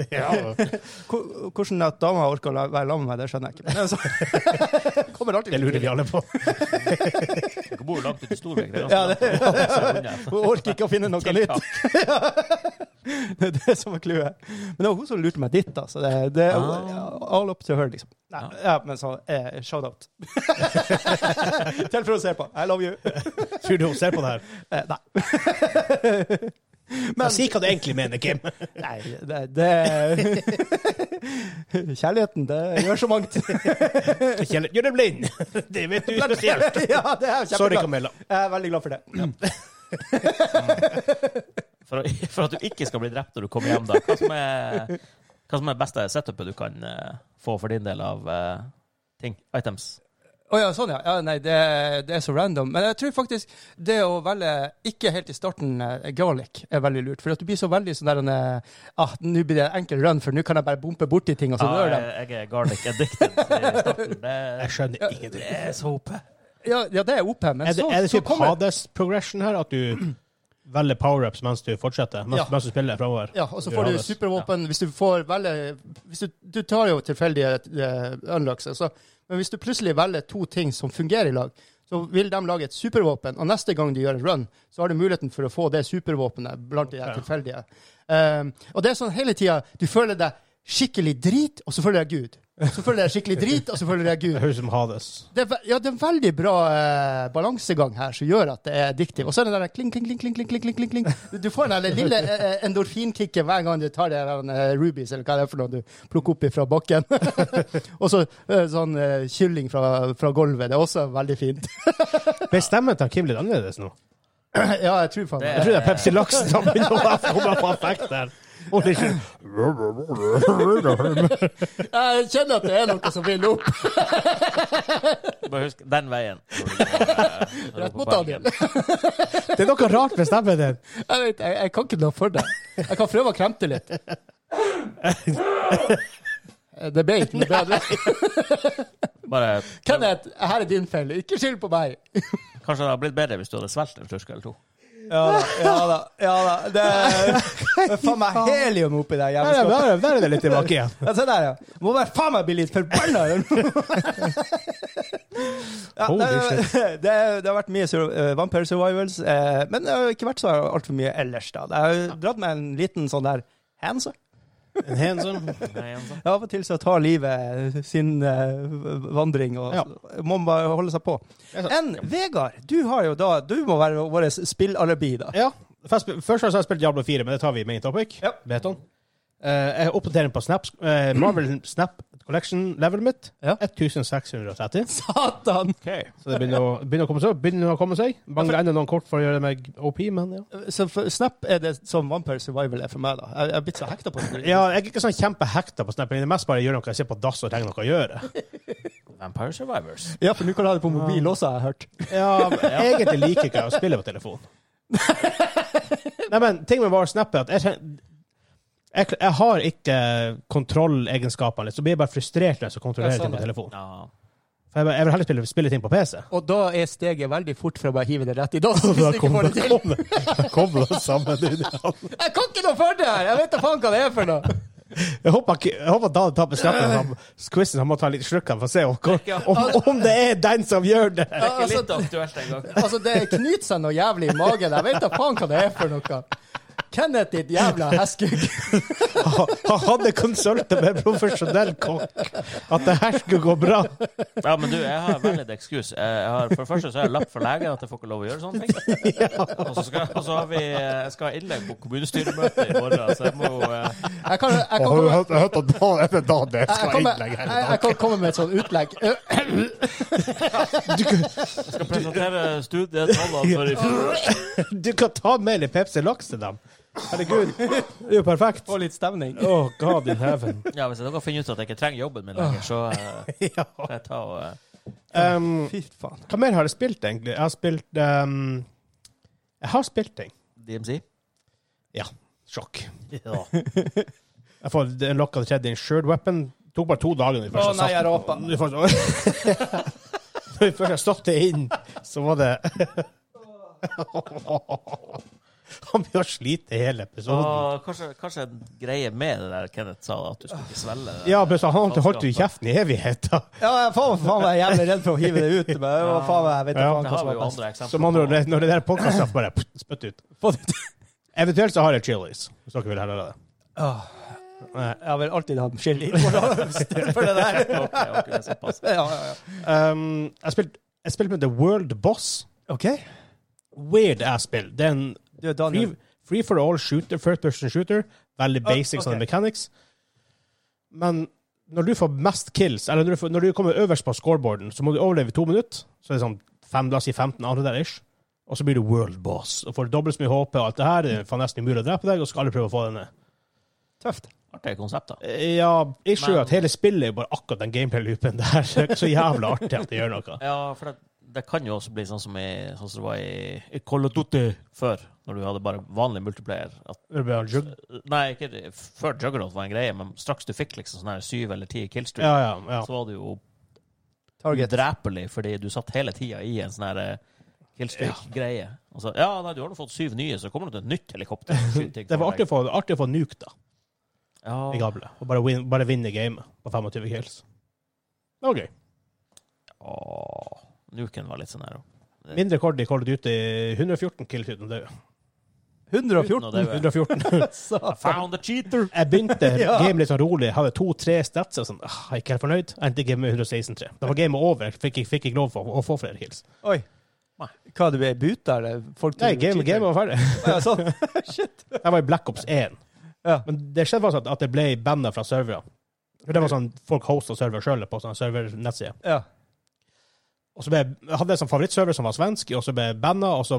Speaker 3: hvor- hvordan at dama orker å la- være sammen med meg, det skjønner jeg ikke. Men altså, kommer alltid
Speaker 1: Det lurer vi alle på.
Speaker 2: Dere bor jo langt ute i Storvik. Det er
Speaker 3: Ja,
Speaker 2: ganske langt unna.
Speaker 3: Hun orker ikke å finne noe nytt.
Speaker 2: Tiltak.
Speaker 3: Det er det som er clouet. Men det var hun som lurte meg dit, da. Så det, det er
Speaker 2: Ah.
Speaker 3: all up to her, liksom. Nei,
Speaker 2: Ja.
Speaker 3: ja, men så eh, shout-out. Til for å se på. I love you.
Speaker 1: Tror du hun ser på det her?
Speaker 3: Eh, nei.
Speaker 1: Men, si hva du egentlig mener, Kim.
Speaker 3: nei, det, det Kjærligheten, det gjør så mangt.
Speaker 1: Kjell, Gjør deg blind! Det vet du spesielt.
Speaker 3: ja, det er jeg
Speaker 1: Sorry,
Speaker 3: kjempeglad.
Speaker 1: Camilla.
Speaker 3: Jeg er veldig glad for det.
Speaker 2: For, å- for at du ikke skal bli drept når du kommer hjem, da. Hva som er, hva som er beste setupet du kan eh, få for din del av eh, ting? Items?
Speaker 3: Å ja, sånn ja. ja nei, det, det er så random. Men jeg tror faktisk det å velge ikke helt i starten eh, garlic er veldig lurt. For at du blir så veldig sånn der en, eh, ah, nå blir det en enkel run, for nå kan jeg bare bompe borti ting, og så dør de.
Speaker 2: jeg, jeg er garlic addicted i starten. Det,
Speaker 1: Jeg skjønner ingenting.
Speaker 2: det er så oppe.
Speaker 3: Ja, ja, det er OP, men
Speaker 1: Er det,
Speaker 3: så,
Speaker 1: er det
Speaker 3: så
Speaker 1: typ
Speaker 3: kommer
Speaker 1: Hades-progression her, at du velger power-ups mens du fortsetter? Mens,
Speaker 3: Ja.
Speaker 1: mens du spiller fremover?
Speaker 3: ja, og så
Speaker 1: Du
Speaker 3: får du
Speaker 1: Hades.
Speaker 3: supervåpen hvis du får velge hvis du, du tar jo tilfeldige eh, unlocks. Altså. Men hvis du plutselig velger to ting som fungerer i lag, så vil de lage et supervåpen. Og neste gang de gjør en run, så har du muligheten for å få det supervåpenet blant de her
Speaker 1: Ok.
Speaker 3: tilfeldige. Um, og det er sånn hele tida. Du føler deg skikkelig drit, og så føler du deg Gud. Så føler du deg skikkelig drit, og så føler du deg Gud.
Speaker 1: Det høres ut som Hades.
Speaker 3: det er, ve- ja, det er en veldig bra eh, balansegang her som gjør at det er addiktivt. Og så er det den der kling, kling, kling, kling, kling, kling, kling, kling, kling. Du får den der lille eh, endorfinkicket hver gang du tar det der eh, rubies, eller hva det er for noe du plukker opp fra bakken. og så eh, sånn eh, kylling fra, fra gulvet. Det er også veldig fint.
Speaker 1: Ble stemmen til Kim litt annerledes nå?
Speaker 3: ja, jeg tror faen
Speaker 2: Det
Speaker 3: det.
Speaker 1: Jeg tror det er Pepsi Laks som begynner å komme på affekt der. Og det er ikke-
Speaker 3: Jeg kjenner at det er noe som vil opp.
Speaker 2: Bare husk den veien. Rett
Speaker 3: Rett mot Daniel.
Speaker 1: Det er noe rart med stemmen din.
Speaker 3: Jeg vet, jeg, jeg kan ikke noe for det. Jeg kan prøve å kremte litt. Eh, Det ble ikke noe bedre.
Speaker 2: Bare,
Speaker 3: Kenneth, her er din feil. Ikke skyld på meg.
Speaker 2: kanskje det hadde blitt bedre hvis du hadde svelget en slurk eller to.
Speaker 3: Ja da. ja da, ja da. Det er- det er faen meg helium oppi
Speaker 1: Der
Speaker 3: der.
Speaker 1: er,
Speaker 3: jævelskapet.
Speaker 1: der er, der er det litt tilbake igjen.
Speaker 3: Ja, se der, ja. Må være faen meg bli litt forbanna! ja,
Speaker 1: Holy
Speaker 3: det, det, det har vært mye sur eh, Vampire Survivals, eh, men det har ikke vært så altfor mye ellers. da. Det har jo dratt meg en liten sånn der hands up.
Speaker 1: En handsome.
Speaker 2: Nei, altså.
Speaker 3: Ja, Av og til så tar livet sin eh, vandring, og
Speaker 1: Ja.
Speaker 3: så må man bare holde seg på.
Speaker 1: Det er sant.
Speaker 3: Enn Vegard, du har jo da Du må være vår spillalibi, da.
Speaker 1: Ja. Først, først har jeg spilt Diablo 4, men det tar vi i main topic.
Speaker 3: Ja.
Speaker 1: Beton. Eh, jeg oppdaterer på Snap, eh, Marvel Snap Collection-levelet mitt.
Speaker 3: Ja.
Speaker 1: 1630.
Speaker 3: Satan!
Speaker 1: Så det begynner å, begynner å komme seg. Begynner å komme seg. Mangler enda noen kort for å gjøre meg OP, men ja.
Speaker 3: Så for Snap er det som Vampire Survival er for meg, da. Jeg- Jeg er blitt så hekta på det.
Speaker 1: ja jeg er ikke sånn kjempehekta på Snap. men Det er mest bare å gjøre noe jeg ser på dass og trenger noe å gjøre.
Speaker 2: Vampire Survivors.
Speaker 3: Ja, for nå kan du ha det på mobil også, har jeg hørt.
Speaker 1: Ja, men Egentlig liker ikke jeg å spille på telefon. Nei, men ting med VAR-snap er at jeg, kjen- jeg, jeg har ikke kontrollegenskapene, litt, så blir jeg bare frustrert når jeg skal kontrollere
Speaker 5: Ja, sånn
Speaker 1: ting
Speaker 5: er
Speaker 1: på
Speaker 5: det.
Speaker 1: telefon.
Speaker 2: Ja.
Speaker 1: For jeg, jeg vil heller spille, spille ting på PC.
Speaker 5: Og da er steget veldig fort fra å bare hive det rett i dass. Hvis du ikke får det til.
Speaker 1: Kobla sammen Jeg
Speaker 5: Jeg kan ikke noe for det her! Jeg vet da faen hva det er for noe!
Speaker 1: håper, ikke- jeg håper Dale taper snappen. Quizen han må ta litt slurk av for å se om, om, om det er den som gjør det.
Speaker 5: Ja,
Speaker 2: Ikke litt
Speaker 5: altså,
Speaker 2: aktuelt engang.
Speaker 5: altså, det knyter seg noe jævlig i magen. Jeg vet da faen hva det er for noe. Kenneth, ditt jævla hestkuk.
Speaker 1: Han hadde konsulter med en profesjonell kokk. At det her skulle gå bra.
Speaker 2: Ja, men du, jeg har veldig et ekskus. Jeg har, for det første så har jeg lapp fra legen at jeg får ikke lov å gjøre sånne ting. Og så skal, og så har vi, jeg skal ha innlegg på kommunestyremøtet i morgen, så jeg må jo eh,
Speaker 5: Jeg kan, jeg kan
Speaker 6: Og
Speaker 5: komme
Speaker 6: jeg hørte at da er det da det
Speaker 5: jeg,
Speaker 6: skal
Speaker 5: kommer,
Speaker 6: innlegge
Speaker 5: jeg,
Speaker 6: her i
Speaker 5: jeg
Speaker 6: dag.
Speaker 5: kan komme med et sånt utlegg. Ø,
Speaker 2: jeg skal presentere studietallene for i fjor.
Speaker 1: Du kan ta med litt Pepsi Laks til dem. Herregud, det er jo perfekt.
Speaker 3: Få litt stemning.
Speaker 1: Oh, God in heaven.
Speaker 2: Ja, hvis dere finner ut at jeg ikke trenger jobben min lenger, så eh,
Speaker 1: Ja.
Speaker 2: får jeg ta og eh,
Speaker 1: Um,
Speaker 3: Fy faen.
Speaker 1: hva mer har jeg spilt, egentlig? Jeg har spilt um, Jeg har spilt ting.
Speaker 2: DMC.
Speaker 1: Ja. Sjokk.
Speaker 2: Ja.
Speaker 1: Jeg får en lokk av tredje insured weapon. Det tok bare to dager.
Speaker 3: Å nei, jeg rapa.
Speaker 1: Du får så... Når vi først har stått det inn, så var det Han begynner å slite i hele episoden.
Speaker 2: Og kanskje, kanskje en greie med det der Kenneth sa, at du skulle ikke svelge det.
Speaker 1: Ja, men så han holdt jo kjeften i evigheter.
Speaker 3: Ja, jeg faen, faen, jeg er jævlig redd for å hive det ut. Men jeg, var faen, jeg vet ikke
Speaker 1: Ja.
Speaker 3: faen
Speaker 2: Det
Speaker 3: hva
Speaker 2: har
Speaker 3: som
Speaker 2: vi
Speaker 3: er
Speaker 2: jo
Speaker 3: best.
Speaker 2: andre eksempler
Speaker 1: Som andre
Speaker 2: på.
Speaker 1: ord, når det der podkastet bare pff, spytt ut.
Speaker 3: Få det til.
Speaker 1: Eventuelt så har jeg Chili's, hvis dere vil høre det. Eh.
Speaker 3: Åh. Ah. Jeg har vel alltid hatt chili for det der.
Speaker 2: Ok, ok, det er såpass.
Speaker 3: Ja, ja, ja.
Speaker 1: Um, jeg spilte jeg spilte med The World Boss.
Speaker 3: OK.
Speaker 1: Weird ass spill. Det er en
Speaker 3: Du, Daniel.
Speaker 1: free, free for all shooter, first person shooter. Veldig basic
Speaker 3: ok.
Speaker 1: sånne mechanics. Men når du får mest kills, eller når du, får, når du kommer øverst på scoreboarden, så må du overleve i to minutter. Så er det sånn fem, la oss si 15 andre der ish. Og så blir du world boss. Og får dobbelt så mye HP og alt det her. Det er faen nesten umulig å drepe deg, og så skal alle prøve å få deg ned.
Speaker 3: Tøft.
Speaker 2: Artig konsept, da.
Speaker 1: Ja, issue er
Speaker 2: Men-
Speaker 1: at hele spillet er jo bare akkurat den gameplay-loopen der. Det er ikke så jævla artig at det gjør noe.
Speaker 2: Ja, for det, det kan jo også bli sånn som, i, sånn som det var i, i Call of Duty før, når du hadde bare vanlig multiplayer. At,
Speaker 1: Det blir jug-
Speaker 2: nei, ikke det- før Juggernaut var en greie, men straks du fikk liksom sånn her syv eller ti killstreak,
Speaker 1: Ja, ja, ja.
Speaker 2: så var du jo
Speaker 3: Target.
Speaker 2: drepelig, fordi du satt hele tida i en sånn her killstreak-greie. Og så, ja, nei, du har nå fått syv nye, så kommer det til et nytt helikopter. og skyter ting
Speaker 1: Det var
Speaker 2: for
Speaker 1: artig å
Speaker 2: deg.
Speaker 1: få, artig å få nuke, da, i
Speaker 2: Ja,
Speaker 1: gable. Og bare, win, bare vinne gamet på 25 kills. Det var gøy.
Speaker 2: Åh, Nuken var litt sånn her også.
Speaker 1: Min rekord i Call of Duty 114 kills uten å dø.
Speaker 2: Uten
Speaker 3: 114.
Speaker 2: å dø.
Speaker 1: 114.
Speaker 2: I Found the cheater!
Speaker 1: Jeg begynte
Speaker 3: Ja.
Speaker 1: game litt sånn rolig. Jeg hadde to-tre stats. Og sånn, ah, jeg er ikke helt fornøyd. Jeg endte game med 116-3. Da var gamet over. Jeg Fikk, fikk ikke lov for å få flere kills.
Speaker 3: Oi. Hva, du er buta, eller? Folk
Speaker 1: Nei, game, game var ferdig.
Speaker 3: Ja, sånn. Shit.
Speaker 1: Jeg var i Black Ops 1.
Speaker 3: Ja.
Speaker 1: Men det skjedde faktisk at, at det ble banna fra servere. For Det var sånn, Folk hosta server sjøl på sånn sånne servernettsider.
Speaker 3: Ja.
Speaker 1: Og så ble, jeg hadde jeg en sånn favorittserver som var svensk, og så ble jeg banna, og så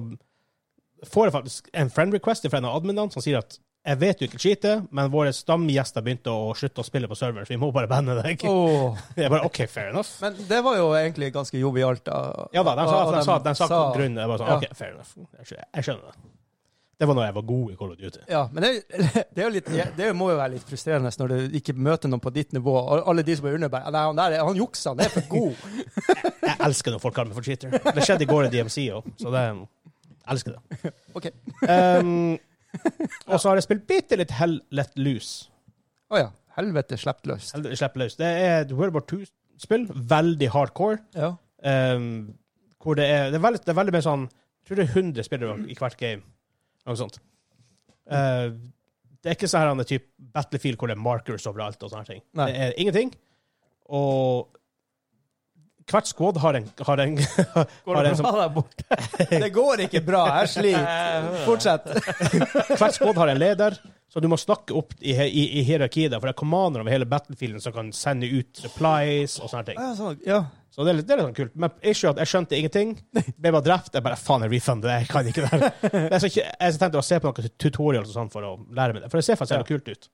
Speaker 1: får jeg faktisk en friend request fra en av adminene som sier at jeg vet du ikke cheater, men våre stamgjester begynte å slutte å spille på serveren, så vi må bare banne deg.
Speaker 3: Åh.
Speaker 1: Jeg bare OK, fair enough.
Speaker 5: Men det var jo egentlig ganske jovialt. da.
Speaker 1: Ja da, de sa,
Speaker 5: Og- og
Speaker 1: de sa, de sa
Speaker 5: sa-
Speaker 1: grunnen. Jeg bare sånn,
Speaker 5: Ja.
Speaker 1: OK, fair enough. Jeg skjø- Jeg skjønner det. Det var når jeg var god i Call of Duty.
Speaker 5: Ja, men det, det, er jo litt, det må jo være litt frustrerende når du ikke møter noen på ditt nivå, og alle de som er under bare Nei, han der, han jukser, han er for god.
Speaker 1: Jeg elsker når folk kaller meg for cheater. Det skjedde i går i DMC òg, så det jeg elsker det.
Speaker 5: OK.
Speaker 1: Um, og så har jeg spilt bitte litt Hell Let Loose.
Speaker 5: Å ja. Helvete slept løs.
Speaker 1: Hell, slipp løs. Det er et World War II-spill. Veldig hardcore.
Speaker 5: Ja.
Speaker 1: Um, hvor det er Det er veldig, det er veldig mer sånn Jeg tror det er 100 spillere i hvert game. Noe sånt. Uh, det er ikke sånn her, han er typ Battlefield hvor det er markers overalt og sånne ting.
Speaker 3: Nei.
Speaker 1: Det er ingenting. Og hvert squad har en, har en, har en sånn- som
Speaker 3: bra der borte? Det går ikke bra. Jeg sliter. Fortsett.
Speaker 1: Hvert squad har en leder, så du må snakke opp i, i, i hierarkiet. der, For det er commander over hele battlefielden som kan sende ut supplies og sånne ting.
Speaker 3: Ja, sånn. Ja.
Speaker 1: Så det er litt, det er litt sånn kult. Men issue er at jeg skjønte ingenting. Ble bare drept. Jeg bare faen, jeg refunder det. Jeg kan ikke det her. Men Jeg, så ikke- jeg så tenkte å se på noen tutorials og sånn for å lære meg det. For det ser faktisk jævlig kult ut.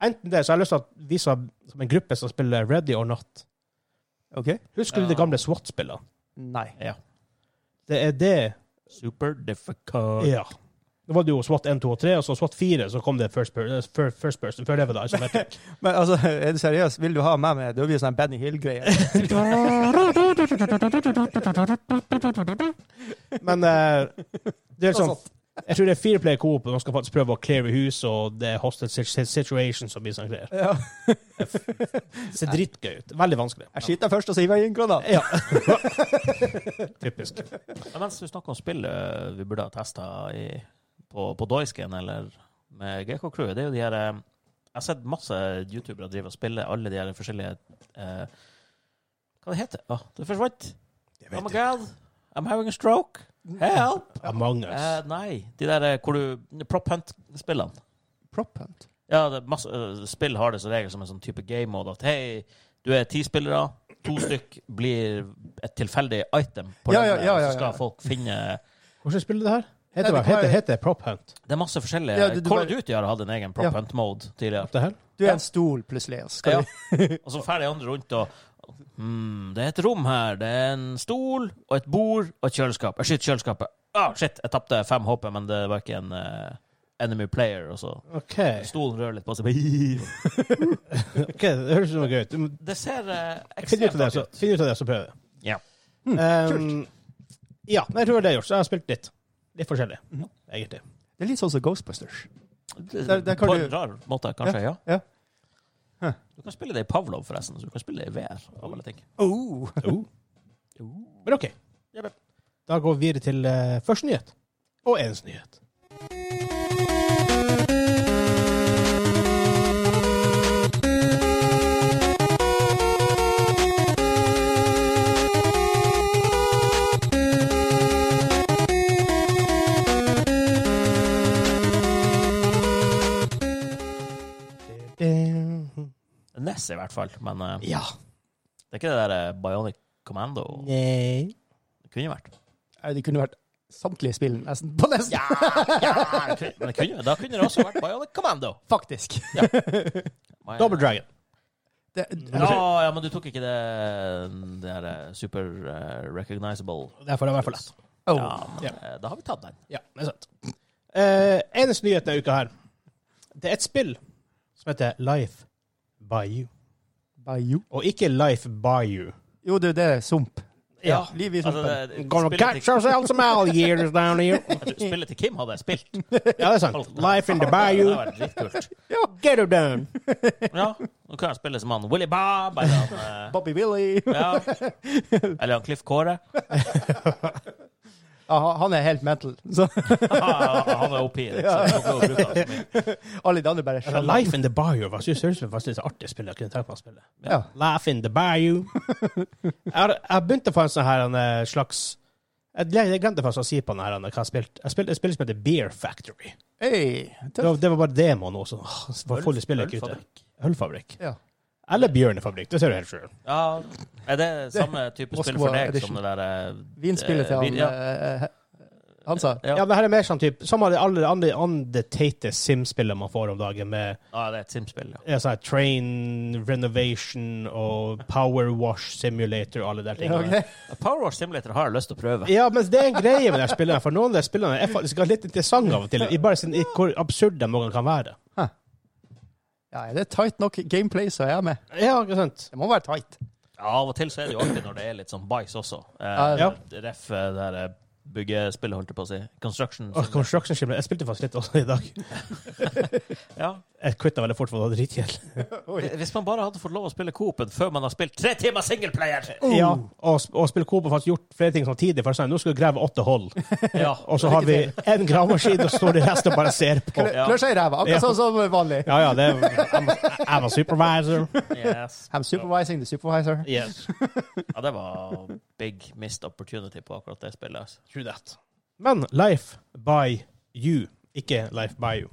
Speaker 1: Enten det, så har jeg lyst til at vi som, som en gruppe som spiller Ready or Not
Speaker 3: OK.
Speaker 1: Husker du de gamle SWAT-spillene?
Speaker 3: Nei.
Speaker 1: Det er det
Speaker 2: Super difficult.
Speaker 1: Ja. Da var det jo SWAT 1, 2 og 3, og så SWAT 4, så kom det First, per eh, fir- first Person. Før det var det Isometric.
Speaker 3: Men altså, er du seriøs? Vil du ha meg med? Det blir sånn Benny Hill-greie.
Speaker 1: Men eh, det er sånn Jeg tror det er fireplayer coop, og man skal faktisk prøve å cleare hus, og det er hostage sit- situations og mye sånne greier.
Speaker 3: Ja.
Speaker 1: Det ser drittgøy ut. Veldig vanskelig.
Speaker 3: Jeg skyter først, og så hiver jeg inn granat.
Speaker 1: Ja. Typisk.
Speaker 2: Men mens du snakker om spill eh, vi burde ha testa på, på Doysken eller med GK Crew, det er jo de her eh, Jeg har sett masse youtubere drive og spille alle de her forskjellige eh, Hva det heter det? Ah, det forsvant. Oh my god, I'm having a stroke. Help!
Speaker 3: Mm.
Speaker 1: Among us.
Speaker 2: Eh, nei, de der eh, hvor du Prop Hunt-spillene.
Speaker 3: Prop hunt.
Speaker 2: Ja, det er masse, øh, spill har det som regel som en sånn type game mode at hei, du er ti spillere, to stykk blir et tilfeldig item på
Speaker 3: Ja,
Speaker 2: ja,
Speaker 3: ja, ja, ja,
Speaker 2: så
Speaker 3: ja.
Speaker 2: skal folk finne
Speaker 1: Hvordan spiller det her? Heter
Speaker 3: Nei,
Speaker 1: det,
Speaker 3: det
Speaker 1: heter,
Speaker 3: var-
Speaker 1: heter det Prop Hunt?
Speaker 2: Det er masse forskjellige
Speaker 3: Ja, det- du
Speaker 2: Call of
Speaker 3: bare-
Speaker 2: Duty har hatt en egen prop
Speaker 3: Ja.
Speaker 2: hunt mode tidligere.
Speaker 1: Det her?
Speaker 3: Du er en stol, plutselig. og Skal
Speaker 2: Ja. Og så drar de andre rundt og hmm, Det er et rom her. Det er en stol og et bord og et kjøleskap. Jeg skyter kjøleskapet. Ah, shit, jeg tapte fem HP, men det var ikke en eh, enemy player. Og så
Speaker 1: OK.
Speaker 2: stolen rører litt på seg.
Speaker 1: Ok, Det høres ut som noe gøy ut. Du må-
Speaker 2: Det ser eh,
Speaker 1: Finn ut
Speaker 2: ekstremt
Speaker 1: av det,
Speaker 2: artig
Speaker 1: så,
Speaker 2: ut.
Speaker 1: finn ut av det, så prøver vi.
Speaker 2: Ja.
Speaker 1: Um, ja, men jeg tror det er gjort. Så jeg har spilt litt. Litt forskjellig, egentlig.
Speaker 3: Det er litt sånn som Ghostbusters.
Speaker 2: Der,
Speaker 3: Der- der kan
Speaker 2: på
Speaker 3: du-
Speaker 2: en rar måte, kanskje. Ja.
Speaker 3: ja. Hæ.
Speaker 2: Du kan spille det i Pavlov, forresten. Så du kan spille det i VR. Av alle ting.
Speaker 3: Oh.
Speaker 1: Men OK. Da går vi videre til eh, første nyhet. Og ens nyhet.
Speaker 2: Mhm. Ness, E i hvert fall. Men eh,
Speaker 1: Ja.
Speaker 2: det er ikke det der eh, Bionic Commando.
Speaker 1: Nei.
Speaker 2: Det kunne vært.
Speaker 3: Nei, Det kunne vært samtlige spill nesten på nesten.
Speaker 2: Men det kunne, da kunne det også vært Bionic Commando.
Speaker 3: Faktisk.
Speaker 2: Hva er-
Speaker 1: Double Dragon.
Speaker 3: Det,
Speaker 2: Ja, ja, men du tok ikke det, det der eh, super eh, recognizable.
Speaker 1: Derfor er det i hvert fall lett.
Speaker 3: oh.
Speaker 2: Ja, men eh, da har vi tatt den.
Speaker 1: Ja, det er sant. Eh, eneste nyhet denne uka her, det er et spill som heter Life by You.
Speaker 3: Bayou.
Speaker 1: Og ikke Life by You.
Speaker 3: Jo, det er det. Sump.
Speaker 1: Ja.
Speaker 3: Liv i sumpen.
Speaker 2: Altså, det-
Speaker 1: Gonna
Speaker 2: spillet,
Speaker 1: catch ourselves some alligators down here.
Speaker 2: til, spillet til Kim hadde jeg spilt.
Speaker 1: Ja, det er sant. Life in the
Speaker 2: Det
Speaker 1: bayou.
Speaker 2: hadde vært dritkult.
Speaker 1: Get her down.
Speaker 2: Ja, nå kan jeg spille som han Willy Bob. Eller han, eh,
Speaker 3: Bobby Willy.
Speaker 2: ja. eller han Cliff Kåre.
Speaker 3: Ja, han- han er helt mental. Så
Speaker 2: Ah, han er oppi det. Så jeg får ikke bruke han så mye.
Speaker 3: alle de andre bare
Speaker 1: Altså,
Speaker 3: skjønner.
Speaker 1: Life in the bayou var synes jeg var faktisk et artig spill. Jeg kunne tenkt meg å spille.
Speaker 3: Ja.
Speaker 1: Laugh in the bayou. Jeg har jeg har begynt å få en sånn her en eh, slags Jeg gle- jeg glemte faktisk å si på den her, hva jeg spilte. Jeg spilte et spill som heter Beer Factory.
Speaker 3: Hey,
Speaker 1: Det
Speaker 3: tøff.
Speaker 1: var, det var bare demoen også. Åh, så var fulle spillet ikke ute.
Speaker 2: Ølfabrikk.
Speaker 1: Ølfabrikk.
Speaker 3: Ja.
Speaker 1: Eller Bjørnefabrikk. Det ser du helt sjøl.
Speaker 2: Ja, er det samme type spill
Speaker 3: Moskva
Speaker 2: for deg
Speaker 3: Edition.
Speaker 2: som det der eh,
Speaker 3: Vinspillet til
Speaker 2: eh,
Speaker 3: han
Speaker 2: vin- ja.
Speaker 3: eh, eh, Han sa
Speaker 1: Ja,
Speaker 2: Ja,
Speaker 1: men her er mer sånn typ Som alle alle andre, andre teite Sim-spillene man får om dagen, med
Speaker 2: ja, det er et Sims-spill. Ja.
Speaker 1: ja, sånn her train renovation og power wash simulator og alle de der
Speaker 3: Ja,
Speaker 1: tingene.
Speaker 3: ok.
Speaker 2: Power Wash Simulator har jeg lyst til å prøve.
Speaker 1: Ja, men det er en greie med de her spillene, for noen av de spillene er faktisk litt interessante av og til, i bare sin, i hvor absurd de noen kan være.
Speaker 3: Ja, er det tight nok gameplay, så er jeg med.
Speaker 1: Ja, ikke sant?
Speaker 3: Det må være tight.
Speaker 2: Ja, Av og til så er det jo alltid når det er litt sånn bæsj også. Eh,
Speaker 3: Ja,
Speaker 1: ja.
Speaker 2: Ref eh, det her eh, byggespillet, holdt jeg på å si. Construction.
Speaker 1: Og Construction Simulator. Jeg spilte faktisk litt også i dag.
Speaker 2: Ja.
Speaker 1: Jeg quitta veldig fort, for det var dritkjedelig.
Speaker 2: Hvis man bare hadde fått lov å spille Coop-en før man har spilt tre timer singleplayer!
Speaker 1: Ja, og, sp- og spille Coop har faktisk gjort flere ting samtidig. For sånn, nå skal vi grave åtte hull,
Speaker 2: Ja.
Speaker 1: og så har vi en gravemaskin, og så står de resten og bare ser på.
Speaker 3: Klø-
Speaker 2: Ja.
Speaker 3: Klør seg i ræva, akkurat
Speaker 1: Ja.
Speaker 3: sånn som vanlig.
Speaker 1: Ja, ja, det er, jeg var- jeg var supervisor.
Speaker 2: Yes.
Speaker 3: I'm supervising the supervisor.
Speaker 1: Yes,
Speaker 2: Ja, det var big missed opportunity på akkurat det spillet. Altså.
Speaker 1: true that. Men Life by You, ikke Life by You.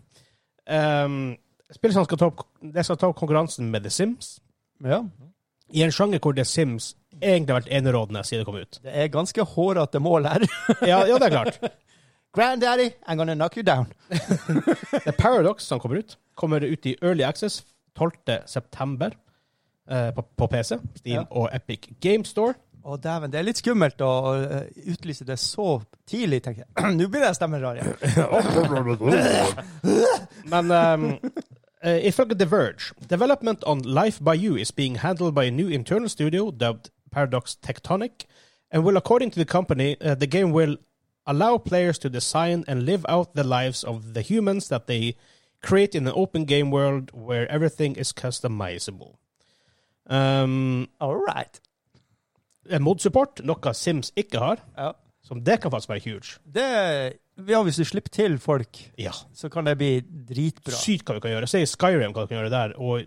Speaker 1: Um, spillet som skal ta opp, det skal ta opp konkurransen med The Sims,
Speaker 3: Ja.
Speaker 1: i en sjanger hvor The Sims egentlig har vært enerådende siden det kom ut.
Speaker 3: Det er ganske hårete mål her.
Speaker 1: Ja, ja, det er klart.
Speaker 3: Granddaddy, I'm gonna knock you down.
Speaker 1: The Paradox som kommer ut, kommer ut i Early Access 12. september eh, på, på PC, Steam
Speaker 3: Ja.
Speaker 1: og Epic Game Store.
Speaker 3: Å, Å, dæven. Det er litt skummelt å eh, utlyse det så tidlig, tenker jeg. Nå blir jeg stemmerar igjen.
Speaker 1: Men um, eh, ifølge The Verge Development on Life by You is being handled by a new internal studio dubbed Paradox Tectonic, and will, according to the company, uh, the game will allow players to design and live out the lives of the humans that they create in an open game world where everything is customizable. Um,
Speaker 3: All right.
Speaker 1: Mod-support, noe Sims ikke har,
Speaker 3: Ja.
Speaker 1: som det kan faktisk være huge.
Speaker 3: Det, ja, hvis du slipper til folk,
Speaker 1: Ja.
Speaker 3: så kan det bli dritbra.
Speaker 1: Sykt hva du kan gjøre. Se i Skyrim hva du kan gjøre der, og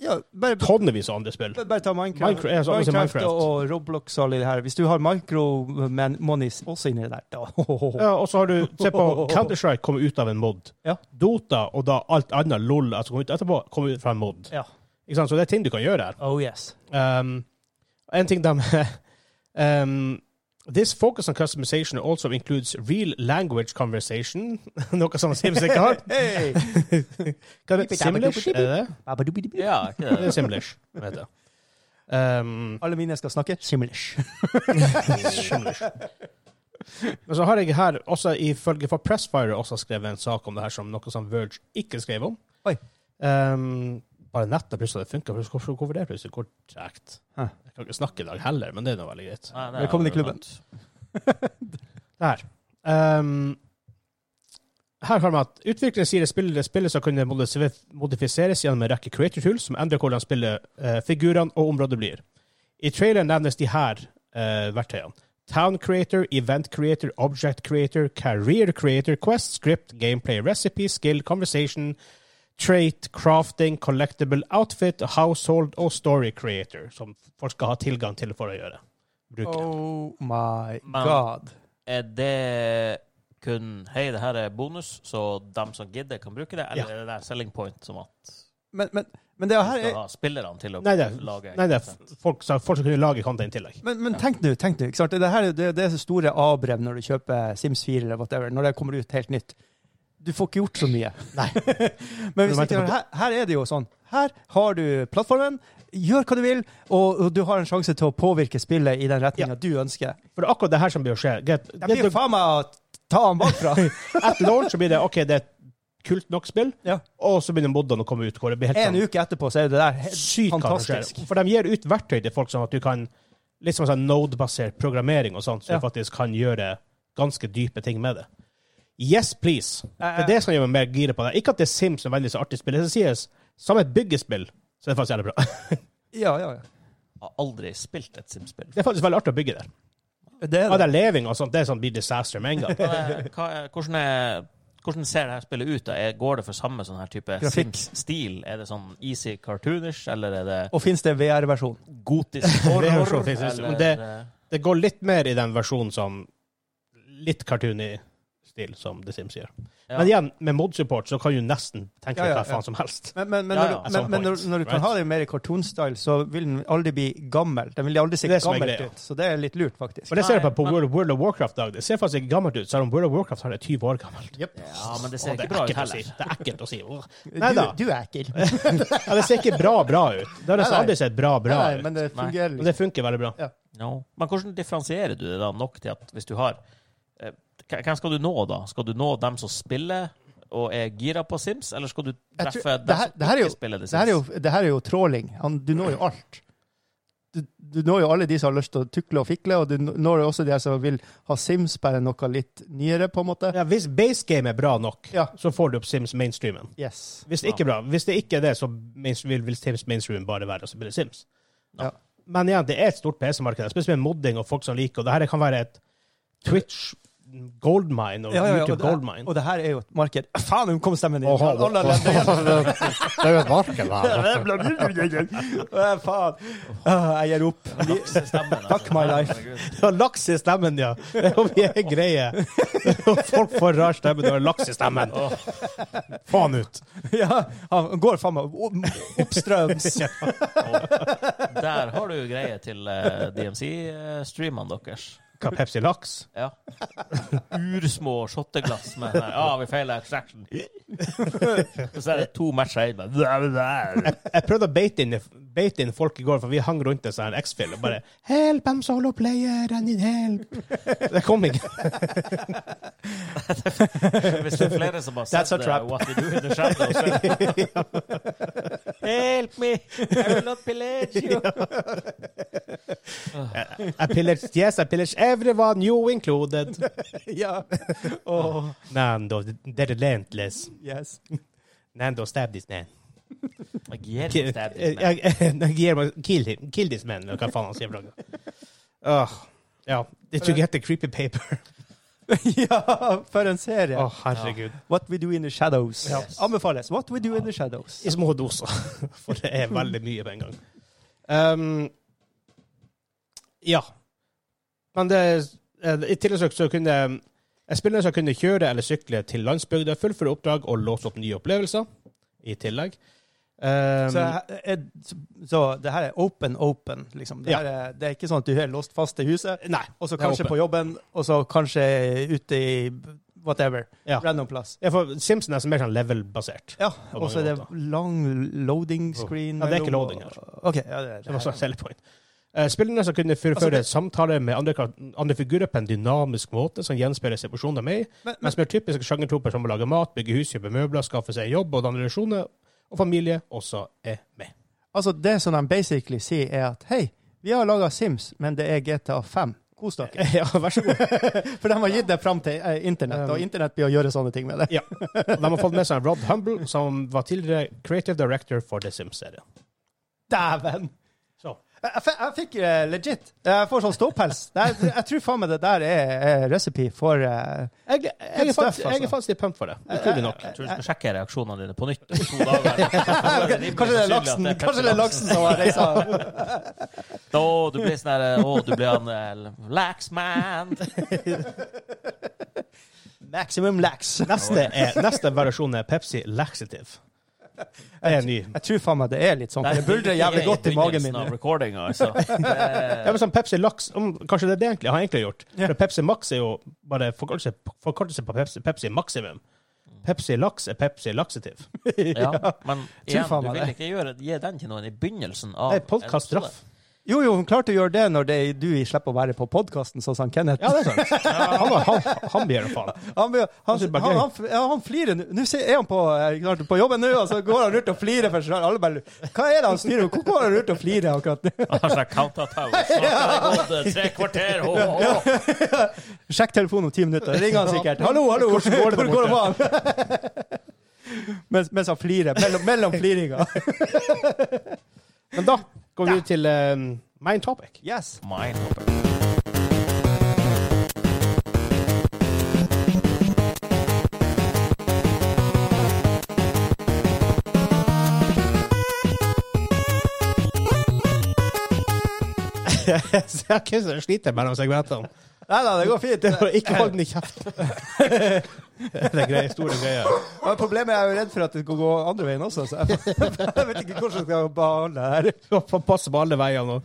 Speaker 3: Ja, bare,
Speaker 1: tonnevis av andre spill.
Speaker 3: bare ta Minecraft,
Speaker 1: Minecraft- ja, så- altså Minecraft.
Speaker 3: og og Roblox og alle det her. Hvis du har micro-monies også inni det der, da
Speaker 1: Ja, og så har du Se på Counter-Strike komme ut av en mod.
Speaker 3: Ja.
Speaker 1: Dota og da alt annet LOL altså kommer ut etterpå, kommer ut fra en mod.
Speaker 3: Ja.
Speaker 1: Ikke sant? Så det er ting du kan gjøre her.
Speaker 3: Oh yes.
Speaker 1: Um, en ting de um, This focus on customization also includes real language conversation. Noe som Sims ikke har.
Speaker 3: Hey!
Speaker 1: Hva er det? Simlish? Er det det?
Speaker 2: Ja, ikke
Speaker 1: det?
Speaker 2: det?
Speaker 1: er Simlish, vet jeg. Um,
Speaker 3: Alle mine skal snakke simlish.
Speaker 1: Skjønner ikke. Men så har jeg her, også ifølge for Pressfire, også skrevet en sak om det her som noe som Verge ikke skrev om.
Speaker 3: Oi.
Speaker 1: Ehm, bare nettet plutselig funka. Hvorfor hvorfor det plutselig går tregt?
Speaker 3: Hæ.
Speaker 1: Jeg kan ikke snakke i dag heller, men det er nå veldig greit.
Speaker 2: Nei, det er
Speaker 3: Velkommen i
Speaker 2: jo
Speaker 3: klubben.
Speaker 2: sant.
Speaker 1: Der. Ehm, her har vi at utviklere sier at spillere spillet skal kunne modif- modifiseres gjennom en rekke creator tools som endrer hvordan spillet, eh, figurene og området blir. I traileren nevnes de her eh, verktøyene. Town creator, event creator, object creator, career creator, quest, script, gameplay, recipe, skill, conversation, trait, crafting, collectible, outfit, household og story creator, som folk skal ha tilgang til for å gjøre. Bruke.
Speaker 3: Oh my
Speaker 2: Men-
Speaker 3: god.
Speaker 2: Er det kun Hei, det her er bonus, så dem som gidder, kan bruke det? Eller
Speaker 1: Ja.
Speaker 2: er det der selling point som at
Speaker 3: Men, men, men det
Speaker 2: du
Speaker 3: her
Speaker 2: skal
Speaker 3: er
Speaker 2: ha spillerne til å
Speaker 1: Nei, det er-
Speaker 2: lage
Speaker 1: Nei, det er f- folk som folk som kunne lage content i tillegg.
Speaker 3: men, men tenk nå, tenk nå. ikke sant? Det, her, er jo- det, det er så store avbrev når du kjøper Sims 4 eller whatever, når det kommer ut helt nytt. Du får ikke gjort så mye. Nei. men hvis
Speaker 1: Du vet
Speaker 3: ikke,
Speaker 1: ikke-
Speaker 3: her, her er det jo sånn. Her har du plattformen, gjør hva du vil, og, og du har en sjanse til å påvirke spillet i den retninga du ønsker.
Speaker 1: For det er akkurat det her som blir å skje. Get,
Speaker 3: Det blir jo faen meg å ta han bakfra.
Speaker 1: etter launch så blir det OK, det er et kult nok spill,
Speaker 3: Ja.
Speaker 1: og så begynner modene å komme ut. Hvor det blir helt
Speaker 3: En uke etterpå så er det der.
Speaker 1: sånn sykt hva som skjer.
Speaker 3: fantastisk.
Speaker 1: For de gir ut verktøy til folk sånn at du kan Litt som sånn node-basert programmering og sånt, så
Speaker 3: Ja.
Speaker 1: du faktisk kan gjøre ganske dype ting med det. Yes, please. Det
Speaker 3: Eh,
Speaker 1: er det som gjør meg mer gira på det. Ikke at det er Sims som er veldig så artig spill. Det som sies, som et byggespill, så er det faktisk jævlig bra.
Speaker 3: Ja, ja, ja.
Speaker 2: Har aldri spilt et Sims-spill.
Speaker 1: Det er faktisk veldig artig å bygge der.
Speaker 3: Det
Speaker 1: Ja, det
Speaker 3: er
Speaker 1: er
Speaker 3: det.
Speaker 1: leving og sånt, det er sånn blir disaster med en gang.
Speaker 2: Hva er- hva er- Hvordan, er, hvordan ser det her spillet ut? da? Er- Går det for samme sånn her type
Speaker 3: Grafikk.
Speaker 2: Sims-stil? Er det sånn easy cartoonish, eller er det
Speaker 3: Og fins det VR-versjon?
Speaker 2: gotisk
Speaker 1: Det er jo
Speaker 2: horror?
Speaker 1: så fint, synes jeg. Men det-
Speaker 2: eller-
Speaker 1: Det går litt mer i den versjonen som litt cartoony stil, som The Sims gjør.
Speaker 2: Ja.
Speaker 1: Men igjen, med mod-support så kan du nesten tenke
Speaker 3: Ja,
Speaker 1: deg
Speaker 3: ja,
Speaker 1: hva faen
Speaker 3: ja.
Speaker 1: som helst.
Speaker 3: Men, men, men,
Speaker 2: Ja,
Speaker 3: når,
Speaker 2: ja,
Speaker 3: du-
Speaker 1: at
Speaker 3: men,
Speaker 1: some
Speaker 3: men når,
Speaker 1: point,
Speaker 3: når du kan
Speaker 1: right?
Speaker 3: ha det mer i cartoon-style, så vil den aldri bli gammel. Den vil aldri se
Speaker 1: Det er det som er
Speaker 3: gammelt
Speaker 1: greia.
Speaker 3: ut, så det er litt lurt, faktisk.
Speaker 1: Og det ser du
Speaker 2: Nei,
Speaker 1: på på
Speaker 2: men-
Speaker 1: World, World of Warcraft i dag. Det ser faktisk ikke gammelt ut, selv om World of Warcraft her er 20 år gammelt.
Speaker 2: Ja, men det ser
Speaker 1: Og
Speaker 2: ikke
Speaker 1: det
Speaker 2: bra
Speaker 1: er
Speaker 2: ut
Speaker 1: ekkelt å si.
Speaker 2: heller.
Speaker 1: Det er ekkelt å si. Åh. Nei da.
Speaker 5: Du, du er ekkel.
Speaker 1: Ja, det ser ikke bra bra ut. Det har nesten
Speaker 5: Nei, nei.
Speaker 1: aldri sett bra bra
Speaker 5: Nei,
Speaker 1: ut.
Speaker 5: men det fungerer
Speaker 1: Men
Speaker 5: liksom.
Speaker 1: det funker veldig bra.
Speaker 2: No. Men hvordan differensierer du det da nok til at hvis du har eh, hva- Hvem skal du nå, da? Skal du nå dem som spiller og er gira på Sims, eller skal du
Speaker 5: Jeg tror-
Speaker 2: treffe dem
Speaker 5: det her- det her er
Speaker 2: som
Speaker 5: jo-
Speaker 2: ikke spiller det
Speaker 5: Det her er
Speaker 2: Sims?
Speaker 5: jo, det her er jo tråling. Han, du når jo alt. Du, du når jo alle de som har lyst til å tukle og fikle, og du når jo også de som vil ha Sims, bare noe litt nyere, på en måte.
Speaker 1: Ja, hvis base game er bra nok,
Speaker 5: Ja.
Speaker 1: så får du opp Sims mainstreamen.
Speaker 5: Yes.
Speaker 1: Hvis det ikke er bra, hvis det ikke er det, så mainst- vil, vil Sims mainstream bare være å spille Sims.
Speaker 5: Ja.
Speaker 1: Men igjen, det er et stort PC-marked, spesielt med modding og folk som liker og det. her kan være et Twitch goldmine og
Speaker 3: Ja, ja, ja, og,
Speaker 1: YouTube
Speaker 3: det,
Speaker 1: goldmine.
Speaker 3: og det her er jo et marked. Faen, nå kom stemmen din!
Speaker 6: Åh,
Speaker 3: Alle- alle- alle-
Speaker 6: Det er jo et marked her.
Speaker 3: Åh, Faen! Åh, Jeg gir opp.
Speaker 2: Laksestemmen,
Speaker 3: Fuck my life.
Speaker 1: Du har laks i stemmen, ja! Det er jo mye greier. Folk får rar stemme, du har laks i stemmen. Faen ut!
Speaker 3: Ja, han går faen meg opp- oppstrøms.
Speaker 2: Og der har du greie til eh, DMC-streamene deres.
Speaker 1: Hva, Pepsi Laks?
Speaker 2: Ja. Ursmå shotteglass med sånn her, Ja, vi feiler extraction. Så er det to matcher igjen. bare.
Speaker 1: Jeg prøvde å beite inn i beit inn folk i går, for vi hang rundt en sånn X-Fill og bare Help, I'm solo player, I need help. Det kom ikke.
Speaker 2: Hvis det er flere som har sett
Speaker 3: That's a
Speaker 2: eh,
Speaker 3: trap.
Speaker 2: What We Do in the Shadows så er det- Help me! I will not pillage you!
Speaker 1: I pillaged, yes, I pillaged everyone, you included.
Speaker 3: ja. Åh,
Speaker 1: Nando, they're relentless.
Speaker 3: yes.
Speaker 1: Nando, stab this man.
Speaker 2: Jeg gir
Speaker 1: Kill,
Speaker 2: meg stab i
Speaker 1: eh,
Speaker 2: den.
Speaker 1: kill him. Kill this man, eller hva faen han sier. for noe. Åh, Oh, ja. Did you get the creepy paper?
Speaker 3: ja, for en
Speaker 1: Å,
Speaker 3: serie.
Speaker 1: herregud.
Speaker 3: What We Do In The Shadows.
Speaker 2: Yes.
Speaker 3: Anbefales. What We Do In The Shadows.
Speaker 1: I små doser, for det er veldig mye på en gang. Ehm, ja. Men det eh, I tillegg så kunne jeg spillere som kunne kjøre eller sykle til landsbygda, fullføre oppdrag og låse opp nye opplevelser i tillegg. Ehm,
Speaker 3: Så, jeg- jeg- så det her er open, open, liksom. Det,
Speaker 1: Ja.
Speaker 3: her er, det er ikke sånn at du er låst fast i huset,
Speaker 1: nei.
Speaker 3: og så
Speaker 1: det er
Speaker 3: kanskje
Speaker 1: open.
Speaker 3: på jobben, og så kanskje ute i whatever.
Speaker 1: Ja.
Speaker 3: Random plass.
Speaker 1: Ja, for Simpson er så mer sånn level-basert.
Speaker 3: Ja,
Speaker 1: På
Speaker 3: og så er
Speaker 1: mange
Speaker 3: det lang loading screen.
Speaker 1: Oh. Ja, det er ikke
Speaker 3: mellom, og-
Speaker 1: loading her.
Speaker 3: OK. Ja, det er
Speaker 1: Det var sånn selling point. Eh, Spillerne som kunne fullføre samtaler med andre, kar- andre figurer på en dynamisk måte som gjenspeiler situasjonen de er i,
Speaker 3: Men- men-
Speaker 1: mens mer typiske sjangertroper som å lage mat, bygge hus, kjøpe møbler, skaffe seg jobb og danne relasjoner, og familie også er med.
Speaker 5: Altså, det som de basically sier, er at hei, vi har laga Sims, men det er GTA5. Kos dere.
Speaker 1: Ja, vær så god. Um,
Speaker 5: For de har gitt det fram til eh, internett, og internett blir å gjøre sånne ting med det.
Speaker 1: Ja. Og De har fått med seg Rod Humble, som var tidligere creative director for The Sims-serien.
Speaker 5: Dæven!
Speaker 1: Så.
Speaker 5: Jeg, jeg f- jeg fikk eh, legit Jeg får sånn ståpels. Jeg, jeg tror faen meg det der er eh, recipe for eh,
Speaker 1: Jeg, jeg, er
Speaker 5: stuff,
Speaker 1: faktisk- jeg er
Speaker 5: altså.
Speaker 1: faktisk litt pumped for det. Utrolig nok.
Speaker 2: Jeg tror du skal sjekke reaksjonene dine på nytt om to dager.
Speaker 5: Kanskje det er laksen Kanskje det er laksen som har reist av.
Speaker 2: Å, du blir sånn der Å, du blir han eh, Laxman!
Speaker 5: Maximum lax.
Speaker 1: Neste, er, neste variasjon er Pepsi Laxative. Det er ny.
Speaker 5: Jeg tror faen meg det er litt sånn.
Speaker 2: Det
Speaker 5: for Det buldrer jævlig godt i magen min.
Speaker 2: Av recording, altså.
Speaker 1: Ja, men sånn Pepsi Laks om, Kanskje det er det egentlig, har egentlig gjort.
Speaker 5: Ja.
Speaker 1: For Pepsi Max er jo bare forkortelse, forkortelse på Pepsi, Pepsi Maximum. Pepsi Laks er Pepsi Laxativ.
Speaker 2: Ja, men igjen,
Speaker 5: faen
Speaker 2: du
Speaker 5: meg
Speaker 2: vil
Speaker 5: det.
Speaker 2: ikke gjøre, gi den til noen i begynnelsen av
Speaker 1: Det er podkast
Speaker 2: en episode.
Speaker 1: straff.
Speaker 5: Jo, jo, hun klarte å gjøre det når det, du slipper å være på podkasten, sånn som Kenneth.
Speaker 1: Ja, det er sant. Han, var- han, han blir det faen.
Speaker 5: Han, blir- han,
Speaker 1: synes
Speaker 5: han,
Speaker 1: bare
Speaker 5: han,
Speaker 1: gøy.
Speaker 5: ja, han flirer nå. Nå ser- er han på, eh, klart, på jobben nå, og så går han rundt og flirer for seg selv. Alle bare lurer. Hva er det han styrer med? Hvorfor går han rundt og flirer akkurat nå?
Speaker 2: Han har sånn counter tower. Snart har det gått eh, tre kvarter! Ho, ho, ho.
Speaker 5: Sjekk telefonen om ti minutter. Da ringer han sikkert. Hallo, hallo, hvordan går det der borte? mens, mens han flirer. Mellom, mellom fliringa.
Speaker 1: Men da går vi til um, main topic.
Speaker 5: Yes.
Speaker 2: Mindhopper.
Speaker 1: Så jeg kan ikke slite mellom segmentene.
Speaker 5: Nei da, det går fint.
Speaker 1: For Ikke hold den i kjeften. Det er greie, store greier.
Speaker 5: Men problemet er jeg jo redd for at det skal gå andre veien også. Så jeg, jeg vet ikke hvordan jeg skal behandle det her.
Speaker 1: Du får passe på alle veier nå.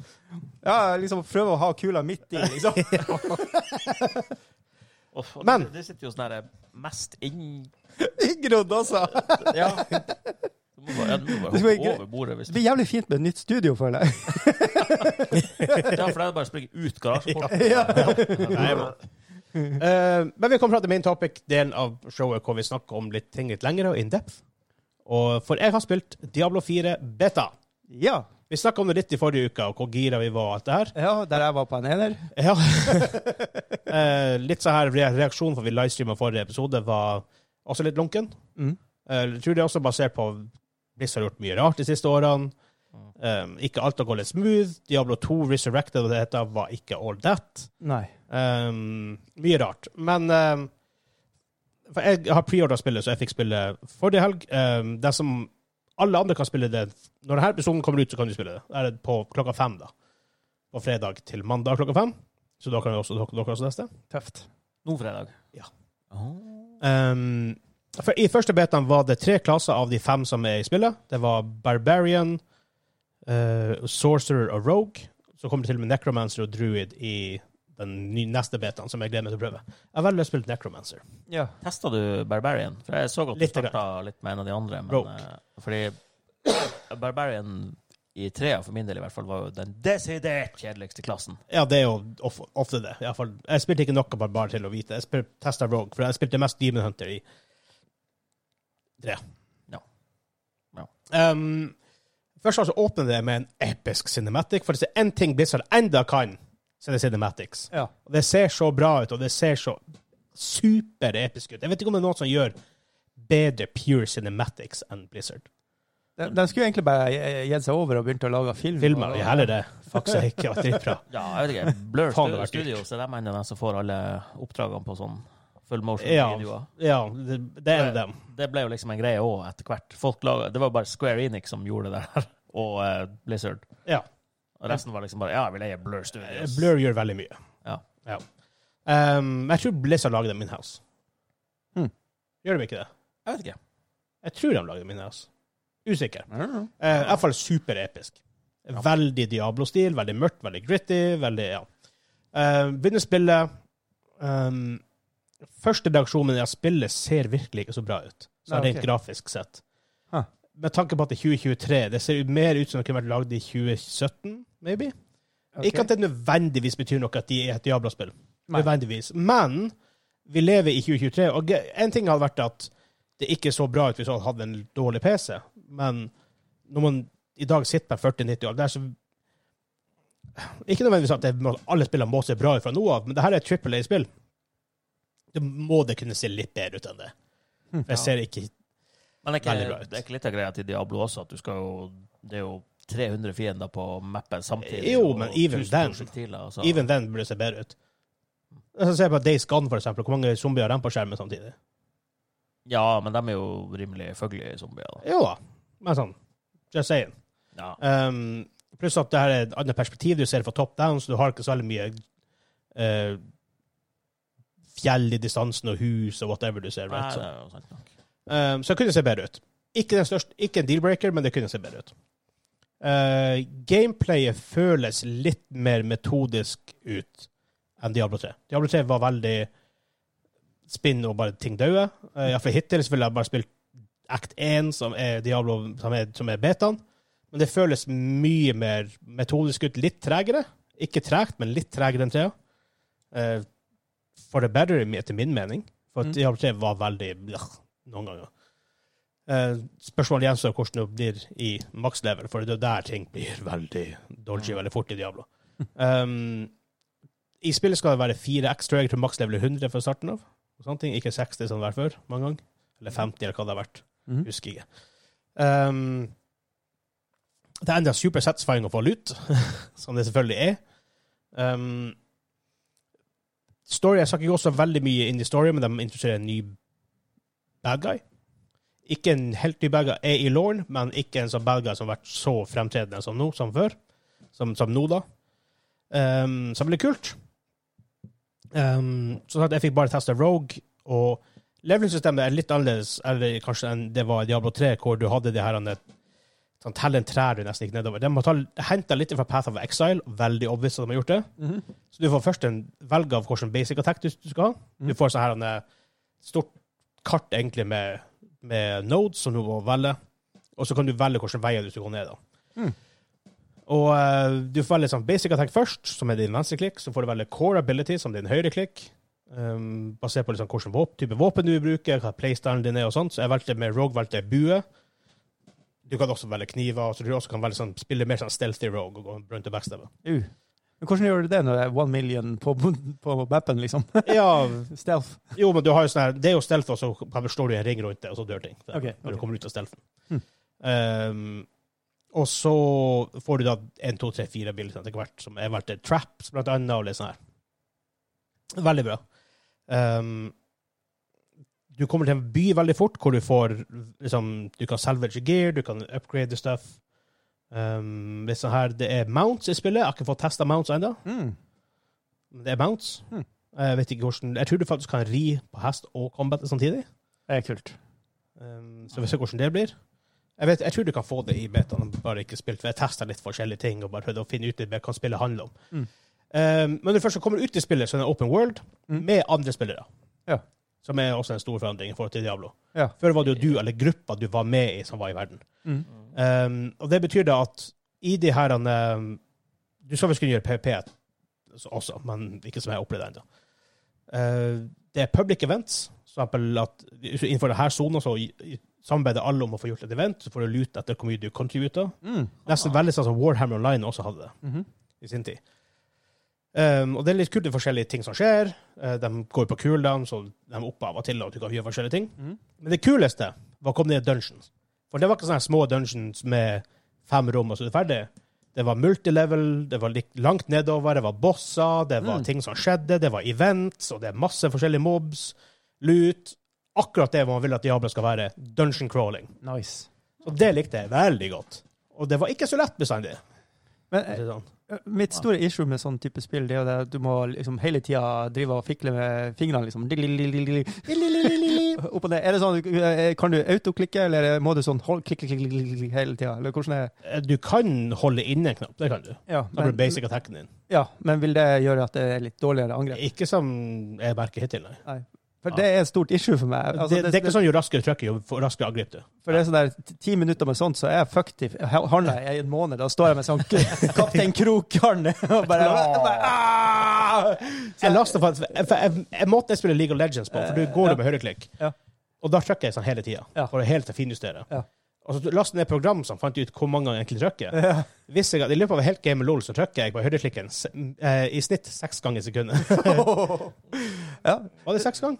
Speaker 5: Ja, liksom prøve å ha kula midt i, liksom.
Speaker 2: Uff, og
Speaker 1: Men-
Speaker 2: det- Det sitter jo sånn der mest inn...
Speaker 5: Inngrodd også.
Speaker 2: Ja. Du må bare, ja, du må
Speaker 5: Du
Speaker 2: bare
Speaker 5: skal
Speaker 2: hoppe
Speaker 5: ikke-
Speaker 2: over bordet hvis
Speaker 5: Det
Speaker 2: du
Speaker 5: blir jævlig fint med et nytt studio, føler jeg.
Speaker 2: Ja, for det er bare å springe ut garasjeporten.
Speaker 5: Ja.
Speaker 1: Nei, men. Eh, men vi kommer fram til main topic, delen av showet hvor vi snakker om litt ting litt lengre og in depth. Og for jeg har spilt Diablo 4 beta.
Speaker 5: Ja.
Speaker 1: Vi snakka om det litt i forrige uke, og hvor gira vi var og alt det her.
Speaker 5: ja, der jeg var på en ener.
Speaker 1: Ja. Eh, litt sånn her re- reaksjon for vi livestreama forrige episode, var også litt lunken.
Speaker 5: Mm.
Speaker 1: Eh, jeg tror det er også basert på Blizzard har gjort mye rart de siste årene. Eh, ikke alt har gått litt smooth. Diablo 2 Resurrected og det heter, var ikke all that.
Speaker 5: Nei.
Speaker 1: Um, mye rart. Men um, for jeg har preorda spillet, så jeg fikk spille forrige helg. Um, det som alle andre kan spille det Når denne episoden kommer ut, så kan du spille det. Det er på klokka fem, da. På fredag til mandag klokka fem. Så da kan jo også, dere, dere også lese det.
Speaker 5: Tøft.
Speaker 2: Nå fredag.
Speaker 1: Ja.
Speaker 2: Åh.
Speaker 1: Um, for I første betaen var det tre klasser av de fem som er i spillet. Det var Barbarian, eh, Sorcerer og Rogue. Så kommer det til og med Necromancer og Druid i den ny, neste betaen, som jeg gleder meg til å prøve. Jeg har veldig lyst til å spille Necromancer.
Speaker 5: Ja.
Speaker 2: Testa du Barbarian? For jeg så at du
Speaker 1: Litt
Speaker 2: starta litt med en av de andre. Men,
Speaker 1: Rogue.
Speaker 2: eh, fordi eh, Barbarian i trea, for min del i hvert fall, var jo den desidert kjedeligste klassen.
Speaker 1: Ja, det er jo of- ofte det. I hvert fall, jeg spilte ikke noe barbar til å vite. Jeg spil- testet Rogue, for jeg spilte mest Demon Hunter i tre.
Speaker 2: Ja. Ja.
Speaker 1: Um, først altså åpner det med en episk cinematic, for det er én ting Blizzard enda kan, så er det cinematics.
Speaker 3: Ja.
Speaker 1: Og det ser så bra ut, og det ser så superepisk ut. Jeg vet ikke om det er noen som gjør bedre pure cinematics enn Blizzard.
Speaker 5: De,
Speaker 3: De skulle egentlig bare eh, gitt seg over og begynt å lage film.
Speaker 1: Filmer
Speaker 3: og-
Speaker 1: vi heller det. Fuck sake, det var dritbra.
Speaker 2: Ja, jeg vet ikke. Blur
Speaker 1: Faen, det var
Speaker 2: Studio,
Speaker 1: dyrt.
Speaker 2: så de er en av dem som får alle oppdragene på sånn full
Speaker 1: Ja.
Speaker 2: motion-videoer.
Speaker 1: Ja, det, det er dem.
Speaker 2: Det ble jo liksom en greie òg etter hvert. Folk laga, det var bare Square Enix som gjorde det der, og eh, Blizzard.
Speaker 1: Ja.
Speaker 2: Og resten var liksom bare Ja, vi leier Blur Studios.
Speaker 1: Eh, Blur gjør veldig mye.
Speaker 2: Ja.
Speaker 1: Um, jeg tror Blizzard lager dem in house.
Speaker 5: Hmm.
Speaker 1: Gjør de ikke det?
Speaker 2: Jeg vet ikke.
Speaker 1: Jeg tror de lager dem in house. Usikker.
Speaker 5: I don't know.
Speaker 1: Eh, I hvert fall superepisk. Veldig Diablo-stil, veldig mørkt, veldig gritty, veldig Ja. Eh, begynner spillet um, Første reaksjon min er at spillet ser virkelig ikke så bra ut, så
Speaker 3: Nei,
Speaker 1: rent
Speaker 3: ok.
Speaker 1: grafisk sett.
Speaker 5: Huh.
Speaker 1: Med tanke på at det er 2023, det ser jo mer ut som det kunne vært lagd i 2017, maybe.
Speaker 5: Ok.
Speaker 1: Ikke at det nødvendigvis betyr noe at de er et Diablo-spill.
Speaker 5: Nei.
Speaker 1: Nødvendigvis. Men vi lever i 2023, og ge- en ting hadde vært at det ikke så bra ut hvis han hadde en dårlig PC, men når man i dag sitter på 40-90 år, det er så Ikke nødvendigvis at det, må- alle spillene må se bra ut fra nå av, men det her er et trippel A-spill. Det må det kunne se litt bedre ut enn det.
Speaker 5: Hm.
Speaker 1: For jeg ser ikke
Speaker 2: Men det
Speaker 1: Veldig
Speaker 2: er
Speaker 1: bra
Speaker 2: ikke,
Speaker 1: ut.
Speaker 2: det er ikke litt av greia til Diablo også, at du skal jo Det er jo 300 fiender på mappet samtidig.
Speaker 1: Jo,
Speaker 2: og
Speaker 1: men even
Speaker 2: 1000
Speaker 1: then-
Speaker 2: prosjektiler, altså.
Speaker 1: Even then burde det se bedre ut. Jeg ser på Days Gone, for eksempel. Hvor mange zombier har de på skjermen samtidig?
Speaker 2: Ja, men de er jo rimelig fuglige zombier. Da.
Speaker 1: Jo da, men sånn Just saying.
Speaker 2: Ja.
Speaker 1: Um, pluss at det her er et annet perspektiv. Du ser fra top down, så du har ikke så veldig mye eh, fjell i distansen og hus og whatever du ser.
Speaker 2: Nei,
Speaker 1: Right?
Speaker 2: det
Speaker 1: Så,
Speaker 2: er jo sant nok.
Speaker 1: um, så det kunne se bedre ut. Ikke, den største, ikke en deal-breaker, men det kunne se bedre ut. Eh, gameplayet føles litt mer metodisk ut enn Diablo 3. Diablo 3 var veldig spinn og bare ting daue. Uh, Iallfall hittil så ville jeg bare spilt Act 1, som er Diablo, som er, som er betaen. Men det føles mye mer metodisk ut. Litt tregere. Ikke tregt, men litt tregere enn 3. Eh, for the better, etter min mening. For at
Speaker 3: Mm.
Speaker 1: Diablo 3 var veldig blech, noen ganger. Eh, spørsmålet gjenstår hvordan det blir i max level, for det er der ting blir veldig dodgy veldig fort i Diablo. Um, I spillet skal det være fire ekstra. Jeg tror maks level er 100 fra starten av. Og sånne ting. Ikke 60 som det har vært før, mange ganger. Eller 50, eller hva det har vært.
Speaker 5: Mhm.
Speaker 1: Husker ikke. Um, det er enda super satisfying å få lut, som det selvfølgelig er. Um, story, Jeg snakker ikke også veldig mye inn i story, men de introduserer en ny bad guy. Ikke en helt ny bad guy er i Lorne, men ikke en sånn bad guy som har vært så fremtredende som nå, som før. Som, som nå, da. Um, som blir kult. Um, sånn at jeg fikk bare teste Rogue, og leveling-systemet er litt annerledes eller kanskje enn det var i Diablo 3, hvor du hadde det her han, sånn, tell en trær du nesten gikk nedover. De har henta litt fra Path of Exile, veldig obvious at de har gjort det.
Speaker 3: Mhm.
Speaker 1: Så du får først en velge av hvilken basic attack du, du skal ha. Du får sånn her han, eh, stort kart egentlig med, med nodes som du må velge, og så kan du velge hvilken vei du skal gå ned. da. Og eh, du får velge sånn basic attack først, som er din venstre klikk. Så får du velge core ability, som din høyre klikk. Um, basert på liksom hvilken våp, type våpen du bruker, hva playstylen din er og sånt. Så jeg valgte med Rogue valgte jeg bue. Du kan også velge kniver, så du også kan velge sånn, spille mer sånn stealthy Rogue og gå rundt og backstabbe.
Speaker 5: Uh.
Speaker 3: Men hvordan gjør du det når det er one million på, på mappen, liksom?
Speaker 1: Ja,
Speaker 3: Stealth.
Speaker 1: jo, men du har jo sånn her, det er jo stealth, og så bare står du i en ring rundt det, og så dør ting. Så,
Speaker 3: Ok,
Speaker 1: Når
Speaker 3: ok.
Speaker 1: du kommer ut av stealthen.
Speaker 3: Hmm.
Speaker 1: Um, og så får du da 1, 2, 3, 4 bilder etter hvert, som er vært et traps, blant annet, og litt sånn her. Veldig bra. Um, du kommer til en by veldig fort, hvor du får liksom, du kan salvage gear, du kan upgrade stuff. Um, litt sånn her, det er mounts i spillet. Jeg har ikke fått testa mounts ennå.
Speaker 5: Mm.
Speaker 1: Men det er mounts.
Speaker 5: Hmm.
Speaker 1: Jeg vet ikke hvordan Jeg tror du faktisk kan ri på hest og combat samtidig.
Speaker 5: Det er kult.
Speaker 1: Um, så vi ser hvordan det blir. Jeg, vet, jeg tror du kan få det i betaen, bare ikke spilt. for Jeg testa litt forskjellige ting og bare prøvde å finne ut litt mer hva spillet handler om.
Speaker 5: Mm.
Speaker 1: Um, men når du først kommer ut i spillet, så er det en open world
Speaker 5: Mm.
Speaker 1: med andre spillere.
Speaker 5: Ja.
Speaker 1: Som er også en stor forandring i forhold til Diablo.
Speaker 5: Ja.
Speaker 1: Før var Ehm, det jo du eller gruppa du var med i, som var i verden.
Speaker 5: Mm.
Speaker 1: Um, og det betyr da at i de her eh, Du skal visst kunne gjøre PVP også, men ikke som jeg har opplevd ennå. Eh, det er public events, for eksempel at hvis du innenfor denne sona så i- i- samarbeider alle om å få gjort et event, så får du lut etter hvor mye du contributer.
Speaker 3: Mm.
Speaker 1: Nesten veldig sånn som Warhammer Online også hadde det
Speaker 7: Mhm.
Speaker 1: i sin tid. Um, og det er litt kult, det er forskjellige ting som skjer. Eh, de går på cooldown, så de er oppe av og til, og du kan gjøre forskjellige ting.
Speaker 7: Mhm.
Speaker 1: Men det kuleste var å komme ned i dungeons. For det var ikke sånne små dungeons med fem rom, og så er du ferdig. Det var multilevel, det var lik- langt nedover, det var bosser, det var
Speaker 7: Mm.
Speaker 1: ting som skjedde, det var events, og det er masse forskjellige mobs, loot. Akkurat det man vil at Diablo skal være. Dungeon crawling.
Speaker 3: Nice.
Speaker 1: Og det likte jeg veldig godt. Og det var ikke så lett bestandig.
Speaker 3: Men
Speaker 1: for å si det sånn.
Speaker 3: eh, mitt store issue med sånn type spill, det er jo det at du må liksom hele tida drive og fikle med fingrene, liksom. Opp og ned. Er det sånn, eh, kan du autoklikke, eller må du sånn hold, klikk, klikk, klikk, klikk, klikk hele tida? Eller hvordan er
Speaker 1: Eh, Du kan holde inne en knapp, det kan du.
Speaker 3: ja,
Speaker 1: Da blir
Speaker 3: men,
Speaker 1: basic attacken din.
Speaker 3: ja, men vil det gjøre at det er litt dårligere angrep?
Speaker 1: Ikke som jeg merker hittil, nei.
Speaker 3: For det er et stort issue for meg. Altså,
Speaker 1: det, det er ikke sånn jo raskere trykket, jo for- raskere angrep du.
Speaker 3: For det er sånn der, t- ti minutter med sånt, så er jeg fucked i hånda i en måned. Da står jeg med sånn k- Kaptein Krok-hånd og bare, bare ah! Så
Speaker 1: Jeg lastet for, for jeg, jeg måtte spille League of Legends på, for du går
Speaker 3: Ja.
Speaker 1: jo med høyreklikk.
Speaker 3: Ja.
Speaker 1: Og da trykker jeg sånn hele tida,
Speaker 3: Ja.
Speaker 1: for å helt finjustere.
Speaker 3: Ja.
Speaker 1: Og så lastet jeg ned program som fant ut hvor mange ganger jeg egentlig trykker.
Speaker 3: Ja.
Speaker 1: Visste jeg at i løpet av helt game LOL så trykker jeg på høyreklikken s- eh, i snitt seks ganger i sekundet.
Speaker 3: Ja.
Speaker 1: Var det seks ganger?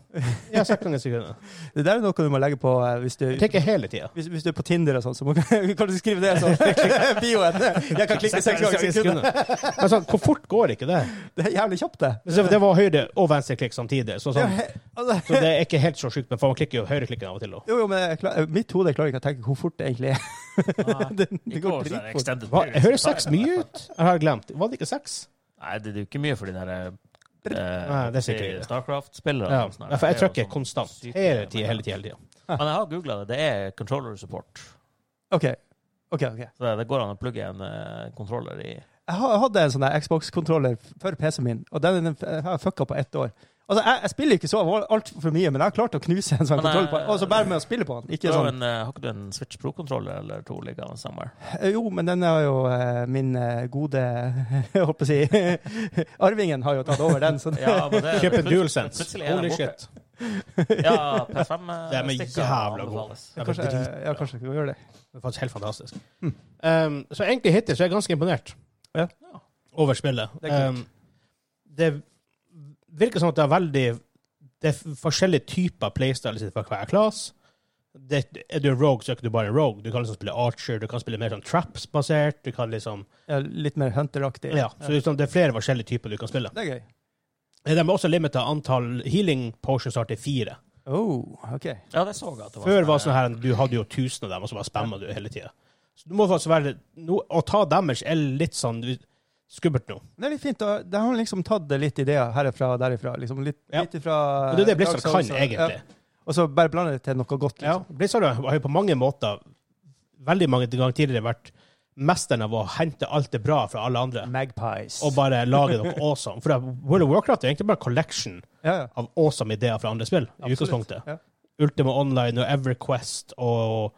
Speaker 1: Ja, seks ganger i sekundet.
Speaker 3: Det der er noe du må legge på eh, hvis du,
Speaker 1: Jeg tenker hele tida.
Speaker 3: hvis, hvis du er på Tinder og sånn. Så må, kan du skrive det sånn? klikk, klikk, Bioen. Jeg kan klikke seks ganger i sekundet.
Speaker 1: Altså, hvor fort går ikke det?
Speaker 3: Det er jævlig kjapt, det.
Speaker 1: Så Det var høyre- og venstreklikk samtidig. Så,
Speaker 3: Det er
Speaker 1: sånn,
Speaker 3: he- altså-
Speaker 1: så det er ikke helt så sjukt, men for man klikker jo høyreklikken av og til. også.
Speaker 3: Jo, jo, men jeg klar, mitt hode klarer ikke å tenke hvor fort det egentlig er. Det, det går dritfort.
Speaker 1: Hva, jeg hører seks mye ut? Jeg har glemt. Var det ikke seks?
Speaker 2: Nei, det er jo ikke mye for de der eh,
Speaker 1: Nei, det er sikkert ikke.
Speaker 2: Starcraft-spillere.
Speaker 1: Ja,
Speaker 2: og sånn her.
Speaker 1: for jeg
Speaker 2: Det er jo
Speaker 1: trykker
Speaker 2: sånn
Speaker 1: konstant.
Speaker 2: sykt-
Speaker 1: Hele tida, hele tida. Hele tida.
Speaker 2: Men jeg har googla det. Det er controller support.
Speaker 3: OK. ok, ok.
Speaker 2: Så det- det går an å plugge en eh, controller i
Speaker 3: Jeg ha- jeg hadde en sånn der Xbox-kontroller f- for PC-en min, og den den f- jeg har jeg fucka på ett år. Altså, jeg, jeg spiller ikke så altfor mye, men jeg har klart å knuse en sånn
Speaker 2: Men,
Speaker 3: kontroll på
Speaker 2: eh,
Speaker 3: Og så bare med å spille på den.
Speaker 2: Du
Speaker 3: Ikke
Speaker 2: har jo
Speaker 3: sånn
Speaker 2: en, eh, har ikke du en Switch Pro-kontroller eller to liggende somewhere?
Speaker 3: Eh, Jo, men den er jo eh, min eh, gode Jeg holdt på å si Arvingen har jo tatt over den, så
Speaker 2: Ja, men det-
Speaker 1: Kjøp en
Speaker 2: plut-
Speaker 1: DualSense.
Speaker 2: plutselig er den
Speaker 1: Holy
Speaker 2: borte.
Speaker 1: shit.
Speaker 2: Ja, PS5
Speaker 1: Det er med jævla god. Det er
Speaker 3: kanskje,
Speaker 1: drit-
Speaker 3: ja, kanskje jeg skal gjøre det.
Speaker 1: det er faktisk helt fantastisk. Um, så egentlig hittil så er jeg ganske imponert
Speaker 3: Ja.
Speaker 1: over spillet.
Speaker 3: Det er kult.
Speaker 1: um, det virker som at det er veldig Det er f- forskjellige typer playstyles for hver klasse. Det, er du en rogue, så er ikke du bare en rogue. Du kan liksom spille archer, du kan spille mer sånn traps-basert. Du kan liksom
Speaker 3: Ja, litt mer hunteraktig.
Speaker 1: Ja, så liksom, det er flere forskjellige typer du kan spille. Eh,
Speaker 3: Det er gøy.
Speaker 1: De har også limita antall healing potions har til fire.
Speaker 3: Oh, OK.
Speaker 2: Ja, det så jeg at det var. eh,
Speaker 1: Før var det sånn her, du hadde jo tusen av dem, og så bare spamma du hele tida. Så du må faktisk være no, Å ta damage er litt sånn skummelt nå.
Speaker 3: Det er litt fint. og De har liksom tatt det litt ideer herifra og derifra. Liksom litt,
Speaker 1: Ja.
Speaker 3: litt ifra
Speaker 1: Og det er det Blizzard
Speaker 3: Eh, Dark Souls
Speaker 1: kan,
Speaker 3: og-
Speaker 1: egentlig.
Speaker 3: Ja. Og så bare blande det til noe godt.
Speaker 1: Ja.
Speaker 3: Liksom.
Speaker 1: Blizzard har jo på mange måter, veldig mange ganger tidligere, vært mesteren av å hente alt det bra fra alle andre.
Speaker 3: Magpies.
Speaker 1: Og bare lage noe awesome. For det- World of Warcraft er egentlig bare en collection
Speaker 3: ja, ja.
Speaker 1: av awesome ideer fra andre spill. i utgangspunktet.
Speaker 3: Ja.
Speaker 1: Ultima Online og EverQuest og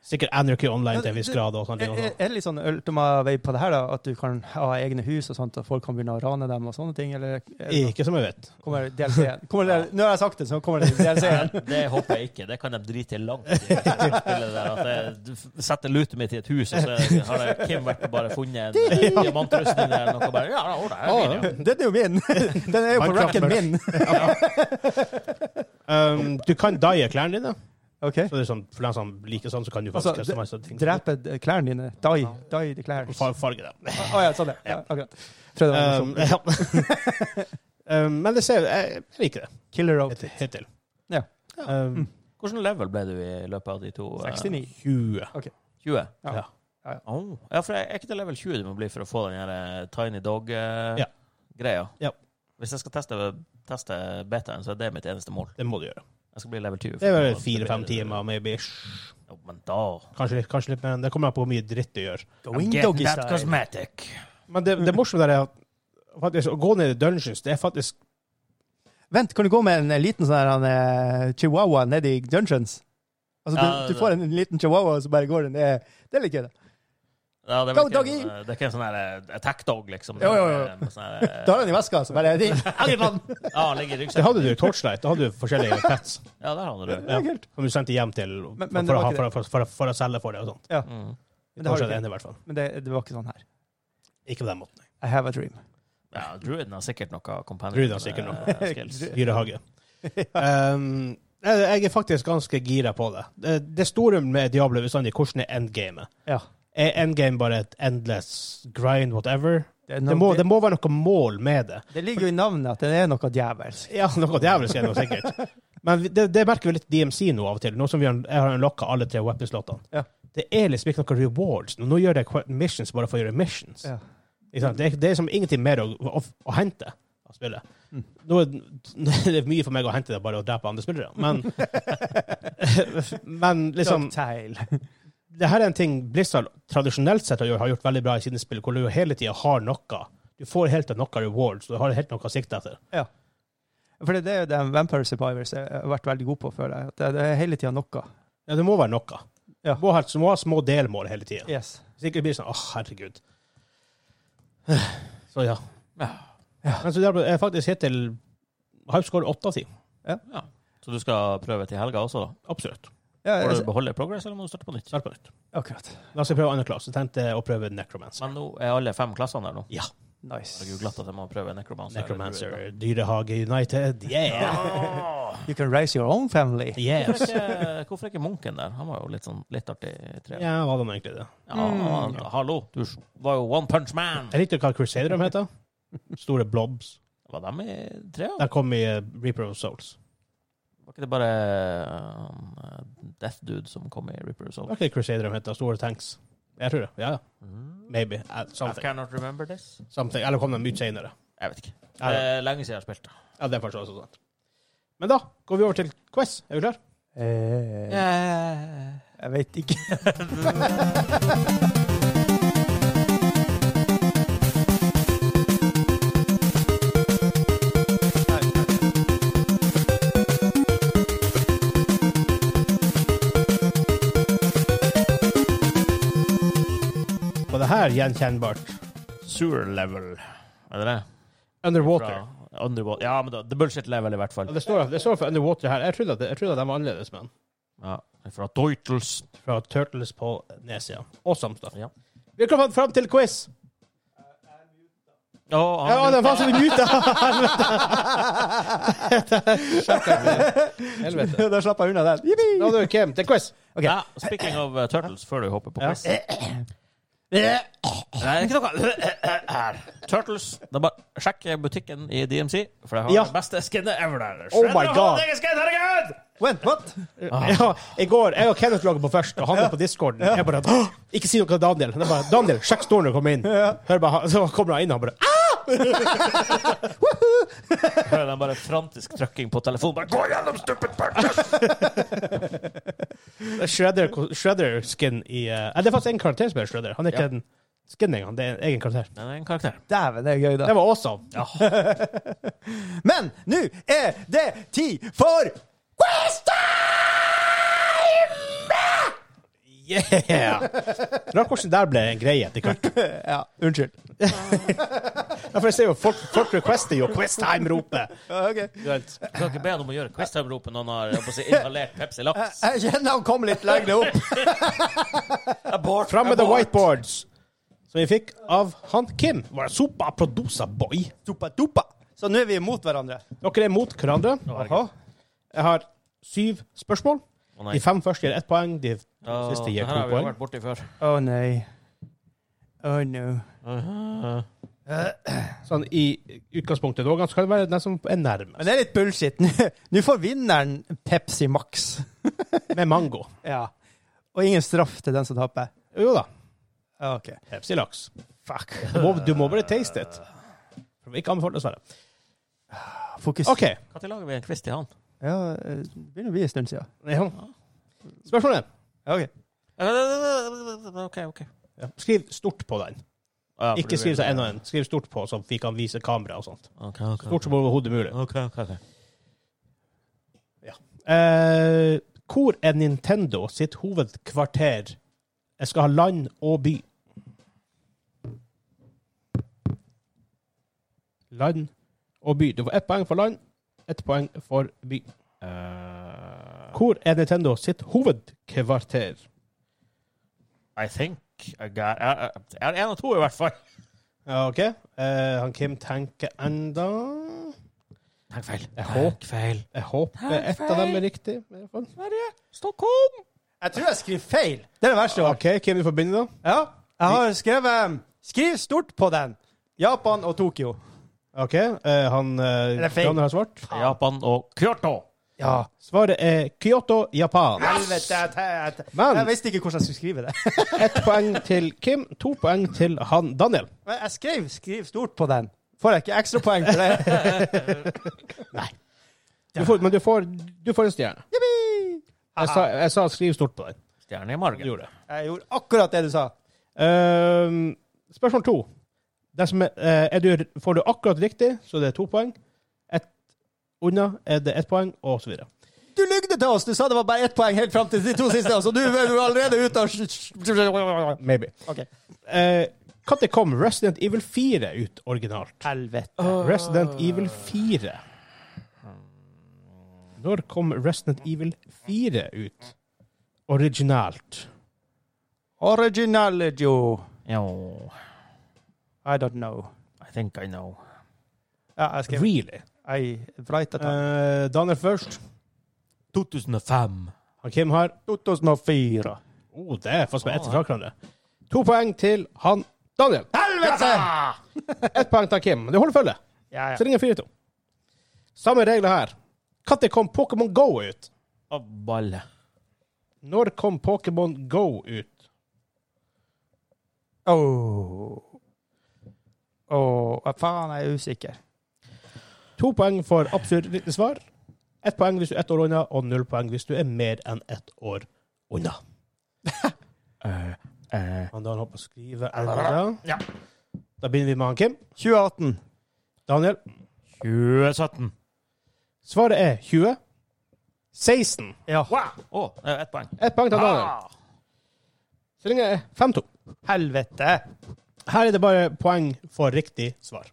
Speaker 1: sikkert Anarchy Online til en viss grad. og sånne
Speaker 3: Er,
Speaker 1: ting.
Speaker 3: er
Speaker 1: også.
Speaker 3: er det litt sånn ultima-vei på det her, da? At du kan ha egne hus og sånt, og folk kan begynne å rane dem og sånne ting? Eller er det-
Speaker 1: Ikke som jeg vet.
Speaker 3: kommer DLC-en? Kommer det- Nå har jeg sagt det, så kommer det DLC-en.
Speaker 2: Nei, det håper jeg ikke. Det kan de drite i langt i. Spillet der, at jeg du f- setter lutet mitt i et hus, og så har jeg- Kim vært og bare funnet en eh, diamantrustning der. Noe bare, ja, å, det er
Speaker 1: Å,
Speaker 2: min, ja.
Speaker 3: Den er jo min! Den er jo på
Speaker 8: Minecraft
Speaker 3: racken min!
Speaker 1: Um, du kan dye klærne dine.
Speaker 3: OK?
Speaker 1: Så det er sånn, for dem som liker sånn, så kan du
Speaker 3: Altså,
Speaker 1: faktisk customize ting.
Speaker 3: Drepe d- eh, klærne dine. Die. Die the
Speaker 1: Og
Speaker 3: clares. Å
Speaker 1: far- Farge dem.
Speaker 3: ja, sånn, ja. ja. Akkurat. Prøvde å være
Speaker 1: Um,
Speaker 3: morsom.
Speaker 1: ja. um, men det ser, jeg, jeg liker det
Speaker 3: Killer out.
Speaker 1: hit- hittil.
Speaker 3: Ja.
Speaker 1: Um,
Speaker 2: Hvordan level ble du i løpet av de to? eh,
Speaker 3: 69.
Speaker 1: 20.
Speaker 2: 20?
Speaker 3: Ja.
Speaker 1: Mm. Ja.
Speaker 3: Ja, ja.
Speaker 2: Oh. ja, for er ikke det level 20 du må bli for å få den her eh, Tiny
Speaker 1: Ja.
Speaker 2: Dog-greia?
Speaker 1: Ja.
Speaker 2: Hvis jeg skal teste, teste betaen, så er det mitt eneste mål.
Speaker 1: Det må du gjøre.
Speaker 2: Jeg skal bli level 20.
Speaker 1: Det er vel fire-fem timer, maybe.
Speaker 2: Jo, men da
Speaker 1: Kanskje, litt- kanskje litt mer. enn Det kommer an på hvor mye dritt du gjør. Mm.
Speaker 3: Going doggy style.
Speaker 2: cosmetic.
Speaker 1: Men det, det morsomme der er at faktisk, å gå ned i dungeons, det er faktisk
Speaker 3: Vent, kan du gå med en eh, liten sånn her, han, eh, chihuahua ned i dungeons? Altså, du,
Speaker 2: Ja,
Speaker 3: du
Speaker 2: det-
Speaker 3: får en liten chihuahua, og så bare går den ned. Det liker jeg.
Speaker 2: Ja, det er
Speaker 5: Go,
Speaker 2: vel ikke,
Speaker 5: doggy!
Speaker 2: en, eh, det er ikke en sånn her eh, attack dog, liksom.
Speaker 5: Jo, jo, jo.
Speaker 2: Det er en sånn her, eh,
Speaker 5: Da har han i veska, så bare ring. Angrip han!
Speaker 2: Ja, han ligger i
Speaker 1: Det
Speaker 2: ryggsekken.
Speaker 1: hadde du i Torchlight. Da hadde du forskjellige pets
Speaker 2: Ja, der har du det.
Speaker 1: ja, som du sendte hjem til for,
Speaker 3: Men- men det
Speaker 1: for, å,
Speaker 3: var
Speaker 1: ha- for, å- for, å- for, å- for å selge for deg og sånt.
Speaker 3: Men
Speaker 2: Mm.
Speaker 3: det,
Speaker 1: Kanskje
Speaker 3: har du
Speaker 1: det
Speaker 3: ikke.
Speaker 1: ene, i hvert fall.
Speaker 3: Men det, det var ikke sånn her.
Speaker 1: Ikke på den måten. nei.
Speaker 3: I have a dream.
Speaker 2: Ja, Druiden har sikkert noe companion
Speaker 1: Druiden har sikkert noe.
Speaker 2: eh, skills.
Speaker 1: Dyrehage. Um, jeg jeg er faktisk ganske gira på det. Det, det store med Diablo er bestandig hvordan er endgamet.
Speaker 5: Ja.
Speaker 1: Er endgame bare et endless grind, whatever?
Speaker 5: Det,
Speaker 1: Det må, det må være noe mål med det.
Speaker 3: Det ligger jo i navnet at det er noe djevelsk.
Speaker 1: Ja, noe djevelsk er det jo sikkert. Men vi- det, det merker vi litt DMC nå av og til, nå som vi har, jeg har unlocka alle tre weaponslottene.
Speaker 5: Ja.
Speaker 1: Det er liksom ikke noen rewards. Nå- Nå gjør jeg que- missions bare for å gjøre missions.
Speaker 5: Ja.
Speaker 1: Ikke sant? Det, er- det er som ingenting mer å, å, å hente av spillet.
Speaker 5: Mm.
Speaker 1: Nå er det- nå er det mye for meg å hente det bare å drepe andre spillere, men Men liksom
Speaker 3: Cocktail.
Speaker 1: det her er en ting Blizzard tradisjonelt sett har gjort, har gjort veldig bra i sine spill, hvor du jo hele tida har noe. Du får helt til noe rewards, og du har helt noe å sikte etter.
Speaker 3: For det er jo det Vampire Survivors jeg har vært veldig god på, føler jeg. At Det, det er hele tida noe.
Speaker 1: Ja, det må være noe.
Speaker 3: Ja.
Speaker 1: Du må ha, du må ha små delmål hele tida.
Speaker 3: Yes.
Speaker 1: Hvis ikke blir det sånn Å, herregud. Så ja.
Speaker 2: Ja.
Speaker 1: Men så der, jeg faktisk hittil har score åtte av ti.
Speaker 2: Så du skal prøve til helga også, da?
Speaker 1: Absolutt.
Speaker 3: Ja, jeg,
Speaker 2: Får du beholde progress, eller må du starte på nytt?
Speaker 1: Start på nytt.
Speaker 3: akkurat.
Speaker 1: La oss prøve andre klasse. Tenkte jeg å prøve necromancer.
Speaker 2: Men nå er alle fem klassene der nå. Jeg har
Speaker 3: Nice.
Speaker 2: googlet at jeg må prøve Necromancer.
Speaker 1: Necromancer, Dyrehage United. Yeah!
Speaker 2: Ja.
Speaker 3: You can raise your own family.
Speaker 1: Yes.
Speaker 2: Hvorfor ikke, hvorfor ikke munken der? Han var jo litt sånn litt artig tre. Ja,
Speaker 1: Ja, hva var det egentlig det?
Speaker 2: han- hallo, du var jo One Punch Man!
Speaker 1: Jeg likte hva Crusader de heter. Store blobs.
Speaker 2: Var dem i trea?
Speaker 1: Der kom i eh, Reaper of Souls.
Speaker 2: Var ikke det bare eh, Death Dude som kom i Ripper Soul?
Speaker 1: Var ikke det Crusader de heter? Store tanks. Jeg tror det. Ja, ja.
Speaker 2: Mm,
Speaker 1: Maybe. Eh,
Speaker 2: I
Speaker 1: Something.
Speaker 2: cannot remember this.
Speaker 1: Something. Eller kom de ut senere?
Speaker 2: Jeg vet ikke.
Speaker 1: Ja,
Speaker 2: Det er lenge siden jeg har spilt.
Speaker 1: Ja, det er faktisk også sant. Men da går vi over til quiz. Er vi klar?
Speaker 5: Eh,
Speaker 3: Jeg vet ikke.
Speaker 1: Og det her gjenkjennbart.
Speaker 2: Sewer level. Er det det?
Speaker 1: Underwater.
Speaker 2: Fra Underwater. Ja, men da, the bullshit level i hvert fall.
Speaker 1: Ja, det, står, det står for Underwater her. Jeg trodde at, jeg trodde at de var annerledes, men
Speaker 2: Ja, fra Deutels.
Speaker 1: fra Turtles på Nesia. Awesome stuff.
Speaker 2: Ja.
Speaker 1: Vi har kommet fram til quiz!
Speaker 2: Å,
Speaker 1: Ja,
Speaker 2: han,
Speaker 1: den fant vi muta! Helvete.
Speaker 3: Da slapp jeg unna den. Yippee!
Speaker 1: Nå har du kommet til quiz.
Speaker 2: ja, speaking of eh, Turtles, før du hopper på
Speaker 1: Ja.
Speaker 2: quiz Nei, ikke noe her. Turtles. Da bare sjekk butikken i DMC, for jeg har
Speaker 1: Ja.
Speaker 2: det beste skinnet ever der.
Speaker 1: Oh my
Speaker 2: Shredder,
Speaker 1: God.
Speaker 2: hold deg i skinn, herregud!
Speaker 3: Went, what?
Speaker 1: Ja, I går jeg og Kenneth logget på først, og han er på discorden. Jeg bare «Åh, Ikke si noe til Daniel. Jeg bare, Daniel, sjekk stolen når du kommer inn. Hør bare, han- så kommer han inn, og han bare «Ah!»
Speaker 2: Hører den bare frantisk trykking på telefonen. Bare gå gjennom stupid parkers!
Speaker 1: Shredder, Shredder skin i eh, Nei, Det er faktisk en karakter som heter Shredder. Han er ikke
Speaker 2: Ja.
Speaker 1: en skin engang. Det er en egen karakter.
Speaker 2: Den er en karakter.
Speaker 3: Dæven, det er gøy, da.
Speaker 1: Det var awesome.
Speaker 3: Men nå er det tid for Quiz
Speaker 1: Yeah! Rart hvordan det der ble en greie etter hvert.
Speaker 3: Ja, unnskyld.
Speaker 1: Ja, for jeg ser jo folk, folk requester jo Quiz time-ropet.
Speaker 5: ok.
Speaker 1: Du vet.
Speaker 2: Du kan ikke be han om å gjøre quiztime-ropet når han har jeg holdt på å si, inhalert Pepsi Laks.
Speaker 1: Eh,
Speaker 5: Jeg kjenner han kom litt lenger opp.
Speaker 2: Abort,
Speaker 1: Fram eh, med the
Speaker 2: abort.
Speaker 1: whiteboards, som vi fikk av han Kim. Var det Sopa Produsa Boy?
Speaker 3: Dupa, dupa. Så nå er vi imot hverandre.
Speaker 1: Dere er mot hverandre.
Speaker 2: herregud.
Speaker 1: Aha. Jeg har syv spørsmål.
Speaker 2: Å, nei.
Speaker 1: De fem første gir ett poeng, de
Speaker 2: Ja,
Speaker 1: siste
Speaker 2: det
Speaker 1: gir
Speaker 2: her
Speaker 1: to
Speaker 2: har vi
Speaker 1: poeng.
Speaker 2: vært borti før.
Speaker 3: Å nei. Å no.
Speaker 1: Sånn i utgangspunktet da, så kan det være den som er nærmest.
Speaker 3: Men det er litt bullshit. Nå- Nå får vinneren Pepsi Max.
Speaker 1: Med mango.
Speaker 3: Ja. Og ingen straff til den som taper.
Speaker 1: Jo da.
Speaker 3: Ja, OK.
Speaker 1: Pepsi-laks.
Speaker 3: Fuck.
Speaker 1: Du, må- du må bare taste it. Ikke anbefalt, dessverre.
Speaker 3: Fokus.
Speaker 1: OK.
Speaker 2: Når lager vi en quiz til han?
Speaker 3: Ja, eh, det begynner å bli en stund siden.
Speaker 1: Ja. Spørsmålet.
Speaker 3: Ja, OK.
Speaker 2: OK, OK.
Speaker 1: Skriv stort på den.
Speaker 2: Ja, for du
Speaker 1: Ikke skriv
Speaker 2: vil-
Speaker 1: seg en og en. Skriv stort på, så vi kan vise kamera og sånt.
Speaker 2: OK, OK.
Speaker 1: Stort som overhodet mulig.
Speaker 2: OK, OK, ok.
Speaker 1: Eh, hvor er Nintendo sitt hovedkvarter? Jeg skal ha land og by. land og by. Du får ett poeng for land, ett poeng for by.
Speaker 2: Eh,
Speaker 1: Hvor er Nintendo sitt hovedkvarter?
Speaker 2: I think I got Jeg jeg har én og to, i hvert fall.
Speaker 1: Ja, OK. Eh, han Kim tenker enda
Speaker 2: Tenk feil.
Speaker 1: Jeg håper-
Speaker 2: feil.
Speaker 1: Jeg håper
Speaker 2: Takk,
Speaker 1: ett av
Speaker 2: feil.
Speaker 1: dem er riktig. i hvert fall.
Speaker 2: Stockholm!
Speaker 3: Jeg tror jeg skriver feil. Det er det verste.
Speaker 1: OK, hvem du får begynne, da?
Speaker 3: Ja, jeg har skrevet um, Skriv stort på den. Japan og Tokyo.
Speaker 1: OK, eh, han
Speaker 3: Er
Speaker 1: eh,
Speaker 3: det feil?
Speaker 1: Johnny har svart.
Speaker 2: Japan og Kyoto.
Speaker 3: Ja.
Speaker 1: Svaret er Kyoto, Japan.
Speaker 3: Helvete, jeg, jeg, jeg,
Speaker 1: Men-
Speaker 3: jeg visste ikke hvordan jeg skulle skrive det.
Speaker 1: Ett poeng til Kim, to poeng til han Daniel.
Speaker 3: Men jeg skrev 'skriv stort på den'. Får jeg ikke ekstrapoeng for det?
Speaker 1: Du får, men du får, du får en stjerne. Jeg sa, jeg sa skriv stort på den.
Speaker 2: Stjerne i
Speaker 1: Du
Speaker 2: margen.
Speaker 1: gjorde det.
Speaker 3: Jeg gjorde akkurat det du sa.
Speaker 1: Ehm, spørsmål to. Det som er, eh, er du, får du akkurat riktig, så det er to poeng. Ett unna er det ett poeng, og så videre.
Speaker 3: Du lygde til oss! Du sa det var bare ett poeng helt fram til de to siste, og så du er jo allerede ute av
Speaker 1: Maybe.
Speaker 3: Ok.
Speaker 1: Eh, Når kom Resident Evil 4 ut originalt?
Speaker 3: Ah. Helvete.
Speaker 1: Resident Evil 4. Når kom Resident Evil 4 ut originalt?
Speaker 3: Originality.
Speaker 2: Jo,
Speaker 3: I don't know.
Speaker 2: I think I know.
Speaker 3: Ja, jeg skrev
Speaker 1: Really?
Speaker 3: I write it.
Speaker 1: Eh, Daniel først.
Speaker 2: 2005.
Speaker 1: Han Kim har
Speaker 3: 2004.
Speaker 1: oh, Det er faktisk med ett fra hverandre. To poeng til han Daniel.
Speaker 3: Helvete!
Speaker 1: Ett poeng til Kim. Du holder følge.
Speaker 3: Ja, ja.
Speaker 1: Så ringer 4-2. Samme regler her. Når kom Pokémon Go ut?
Speaker 2: Å, balle.
Speaker 1: Når kom Pokémon Go ut?
Speaker 3: Åh. Åh, hva faen, jeg er usikker.
Speaker 1: To poeng for absolutt riktig svar. Ett poeng hvis du er ett år unna, og null poeng hvis du er mer enn ett år unna.
Speaker 2: Eh, eh,
Speaker 1: Han Dan håper å skrive endra. Da begynner vi med han Kim.
Speaker 3: 2018.
Speaker 1: Daniel.
Speaker 2: 2017.
Speaker 1: Svaret er 20. 16.
Speaker 3: Ja.
Speaker 2: Å, det er ett poeng.
Speaker 1: Ett poeng til Daniel.
Speaker 2: Ah.
Speaker 1: Så ringer jeg 5-2.
Speaker 3: Helvete.
Speaker 1: Her er det bare poeng for riktig svar.